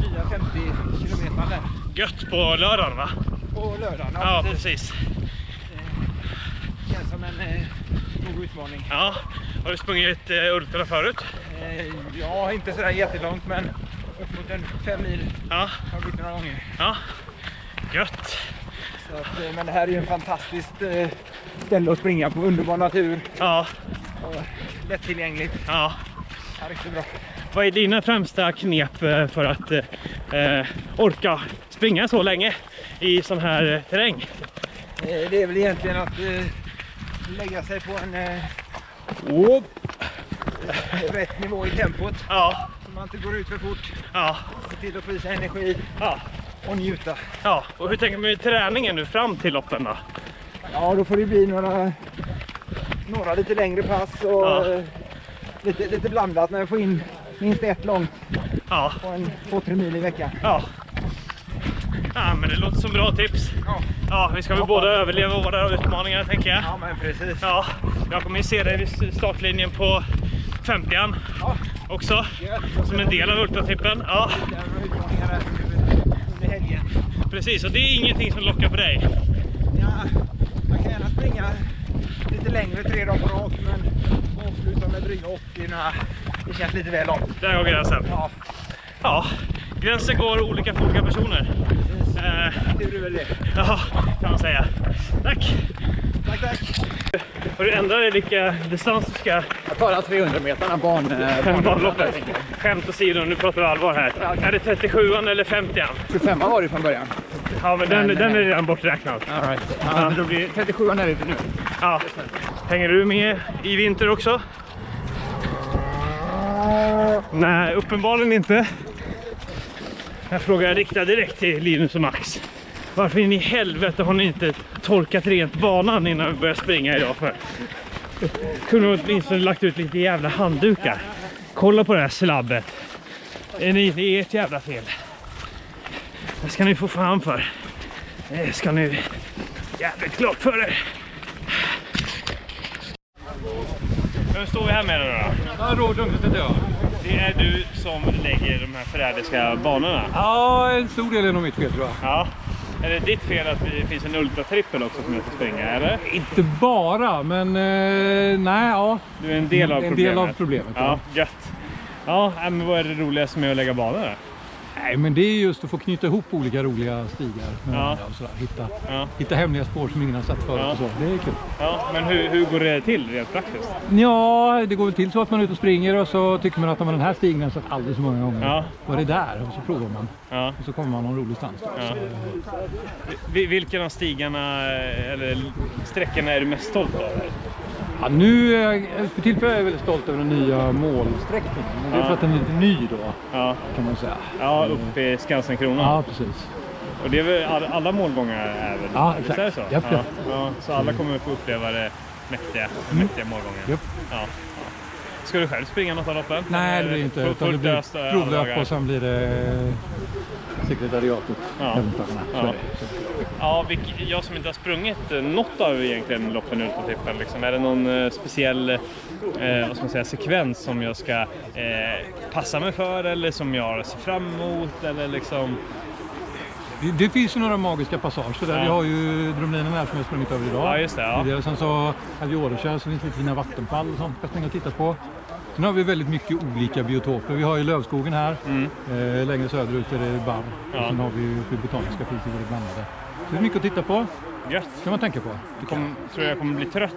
[SPEAKER 5] nya 50 kilometer där.
[SPEAKER 6] gött på lördagen va?
[SPEAKER 5] På lördagen.
[SPEAKER 6] Ja, precis.
[SPEAKER 5] Det känns som en eh, god utmaning.
[SPEAKER 6] Ja. Har du sprungit eh, Ultra förut?
[SPEAKER 5] Eh, ja, inte sådär jättelångt men upp mot en fem mil
[SPEAKER 6] Ja,
[SPEAKER 5] har jag gjort några gånger.
[SPEAKER 6] ja. Gött!
[SPEAKER 5] Så att, eh, men det här är ju en fantastiskt eh, ställe att springa på. Underbar natur
[SPEAKER 6] Ja,
[SPEAKER 5] och lättillgängligt.
[SPEAKER 6] ja.
[SPEAKER 5] Ja, riktigt bra.
[SPEAKER 6] Vad är dina främsta knep eh, för att eh, eh, orka springa så länge i sån här eh, terräng?
[SPEAKER 5] Eh, det är väl egentligen att eh, lägga sig på en eh, rätt nivå i tempot.
[SPEAKER 6] Ja,
[SPEAKER 5] Så man inte går ut för fort.
[SPEAKER 6] ja,
[SPEAKER 5] Se till att få i sig energi
[SPEAKER 6] ja,
[SPEAKER 5] och njuta.
[SPEAKER 6] ja. Och hur tänker man med träningen nu fram till loppen då?
[SPEAKER 5] Ja, då får det bli några, några lite längre pass och
[SPEAKER 6] Ja.
[SPEAKER 5] eh, lite, lite blandat. Men jag får in minst ett långt
[SPEAKER 6] Ja,
[SPEAKER 5] på en 2-3 mil i veckan.
[SPEAKER 6] ja. Ja, men det låter som bra tips.
[SPEAKER 5] Ja.
[SPEAKER 6] Ja, vi ska väl både överleva våra utmaningar tänker jag.
[SPEAKER 5] Ja, men precis.
[SPEAKER 6] Ja, jag kommer ju se dig vid startlinjen på 50an
[SPEAKER 5] Ja.
[SPEAKER 6] också. Som en del av ultratippen. Ja,
[SPEAKER 5] Det här var utmaningar här under helgen.
[SPEAKER 6] precis. Och det är ingenting som lockar på dig.
[SPEAKER 5] Ja, man kan gärna springa lite längre tre dagar på rak men avsluta med dryga 80 när det känns lite väl långt.
[SPEAKER 6] Där går gränsen.
[SPEAKER 5] Ja,
[SPEAKER 6] Ja, gränsen går olika för olika personer.
[SPEAKER 5] precis.
[SPEAKER 6] Eh,
[SPEAKER 5] Tur är väl det.
[SPEAKER 6] ja, kan man säga. Tack!
[SPEAKER 5] Tack, tack.
[SPEAKER 6] Har du ändrat dig vilka distans du ska
[SPEAKER 4] Jag tar alla 300 meterna barn, eh,
[SPEAKER 6] banloppet? Skämt åsido, nu pratar vi allvar här. Är det 37an eller 50an?
[SPEAKER 4] 25 var det från början.
[SPEAKER 6] Ja, men den,
[SPEAKER 4] Men,
[SPEAKER 6] den är redan borträknad.
[SPEAKER 4] All right. ja, men då blir 37 är vi nu.
[SPEAKER 6] Ja. Hänger du med i vinter också? Nej, uppenbarligen inte. Jag frågar riktar direkt till Linus och Max. Varför in i helvete har ni inte torkat rent banan innan vi börjar springa idag för? Kunde ni åtminstone lagt ut lite jävla handdukar. Kolla på det här slabbet. Det är ni- det är ert jävla fel. Det ska ni få fan för. Det ska ni jävligt klart för er. Vem står vi här med nu då?
[SPEAKER 7] Robert Lundqvist heter jag.
[SPEAKER 6] Det är du som lägger de här förrädiska banorna.
[SPEAKER 7] Ja, en stor del är nog mitt fel tror jag.
[SPEAKER 6] Ja. Är det ditt fel att det finns en ultratrippel också som heter springa, eller?
[SPEAKER 7] Inte bara, men eh, nej, ja.
[SPEAKER 6] Du är en del av
[SPEAKER 7] En del
[SPEAKER 6] problemet.
[SPEAKER 7] av problemet,
[SPEAKER 6] Ja, gött. Ja, nej, men vad är det roligaste med att lägga banor då?
[SPEAKER 7] Nej, men det är just att få knyta ihop olika roliga stigar. med
[SPEAKER 6] Ja.
[SPEAKER 7] varandra och sådär. Hitta,
[SPEAKER 6] Ja.
[SPEAKER 7] hitta hemliga spår som ingen har sett förut
[SPEAKER 6] Ja.
[SPEAKER 7] och så. Det är kul.
[SPEAKER 6] Ja, men hur, hur går det till rent praktiskt?
[SPEAKER 7] Ja, det går väl till så att man är ute och springer och så tycker man att "Ja, men den här stigen har jag sett alldeles för många gånger.
[SPEAKER 6] Ja.
[SPEAKER 7] Var det där? Och så provar man.
[SPEAKER 6] Ja.
[SPEAKER 7] Och så kommer man någon rolig stans.
[SPEAKER 6] Vi- Vilken av stigarna eh, eller sträckorna är du mest stolt över?
[SPEAKER 7] Ja, nu, eh, för tillfället är jag väldigt stolt över den nya målsträckningen. Men det är
[SPEAKER 6] Ja.
[SPEAKER 7] för att den är lite ny då,
[SPEAKER 6] Ja,
[SPEAKER 7] kan man säga.
[SPEAKER 6] ja upp i Skansen-kronan.
[SPEAKER 7] Ja, precis.
[SPEAKER 6] Och det är väl all, alla målgångar är väl
[SPEAKER 7] Ja,
[SPEAKER 6] visst är det så?
[SPEAKER 7] exakt. Japp,
[SPEAKER 6] ja,
[SPEAKER 7] japp. Mm.
[SPEAKER 6] ja, så alla kommer få uppleva det mäktiga, den mäktiga målgången.
[SPEAKER 7] Japp.
[SPEAKER 6] Ja, ja. Ska du själv springa något av loppen?
[SPEAKER 7] Nej, det blir
[SPEAKER 6] Eller
[SPEAKER 7] det inte.
[SPEAKER 6] full-
[SPEAKER 7] Utan det
[SPEAKER 6] fullt
[SPEAKER 7] blir
[SPEAKER 6] ös eh, alla
[SPEAKER 7] provlöp
[SPEAKER 6] dagar?
[SPEAKER 7] och sen blir det sekretariatet.
[SPEAKER 6] Ja.
[SPEAKER 7] hemdagarna. Så
[SPEAKER 6] Ja.
[SPEAKER 7] är det. Så-
[SPEAKER 6] Ja, vilk- jag som inte har sprungit eh, något av egentligen loppen ut på tippen. Liksom. Är det någon eh, speciell eh, vad ska man säga, sekvens som jag ska eh, passa mig för eller som jag ser fram emot? Eller liksom...
[SPEAKER 7] Det, det finns ju några magiska passager där.
[SPEAKER 6] Ja.
[SPEAKER 7] Vi har ju drumlinen här som jag sprungit över idag.
[SPEAKER 6] Ja, just det, ja.
[SPEAKER 7] Tidigare. Sen så här vid Årekärr så finns det lite fina vattenfall och sånt man kan springa och titta på. Sen har vi väldigt mycket olika biotoper. Vi har ju lövskogen här. Eh, längre söderut är det barr.
[SPEAKER 6] Mm. Ja.
[SPEAKER 7] Och sen har vi ju uppe i Botaniska priset är det blandade. Så det är mycket att titta på.
[SPEAKER 6] Gött!
[SPEAKER 7] kan man tänka på. tycker jag.
[SPEAKER 6] Kom, tror jag kommer bli trött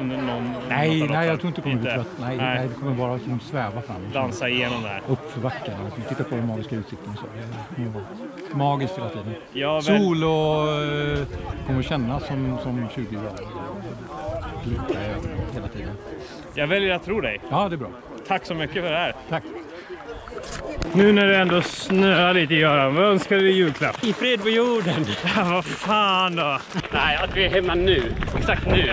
[SPEAKER 6] under någon något
[SPEAKER 7] Nej,
[SPEAKER 6] av
[SPEAKER 7] nej, jag
[SPEAKER 6] loppen.
[SPEAKER 7] tror inte du kommer bli trött. Nej, nej. det kommer bara liksom sväva fram.
[SPEAKER 6] Dansa igenom det här.
[SPEAKER 7] upp för backen och liksom titta på den magiska utsikten. Så det kommer vara magiskt hela tiden.
[SPEAKER 6] Jag väl-
[SPEAKER 7] Sol och eh, kommer kännas som, som 20 grader. Glittrar i ögonen Hela tiden.
[SPEAKER 6] Jag väljer att tro dig.
[SPEAKER 7] Ja, det är bra.
[SPEAKER 6] Tack så mycket för det här.
[SPEAKER 7] Tack.
[SPEAKER 6] Nu när det ändå snöar lite Göran, vad önskar du i julklapp? I fred på jorden. Ja, vad fan då.
[SPEAKER 3] Nej, att vi är hemma nu. Exakt nu.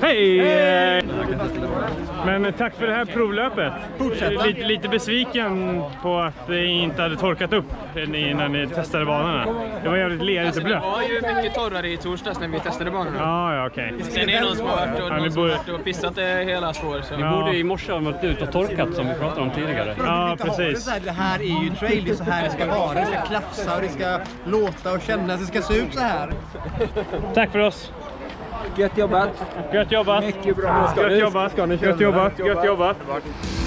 [SPEAKER 6] Hej! Men tack för det här provlöpet. Lite, lite besviken på att det inte hade torkat upp innan ni testade banorna. Det var jävligt lerigt och blött.
[SPEAKER 8] var ju mycket torrare i torsdags när vi testade banorna.
[SPEAKER 6] Ja, ja, okej.
[SPEAKER 8] Sen är det någon som har varit och,
[SPEAKER 6] Ja, ni
[SPEAKER 8] någon som har
[SPEAKER 6] borde-
[SPEAKER 8] varit och pissat det hela spår. Så.
[SPEAKER 6] Ja.
[SPEAKER 3] I morse har de varit ute och torkat som vi pratade om tidigare.
[SPEAKER 6] Ja, precis.
[SPEAKER 9] Det här är ju trail, det är så här det ska vara. Det ska klafsa och det ska låta och kännas. Det ska se ut så här.
[SPEAKER 6] Tack för oss.
[SPEAKER 8] Gött jobbat!
[SPEAKER 6] Gött jobbat! Mycket bra. Gött jobbat. Gött jobbat. Gött jobbat.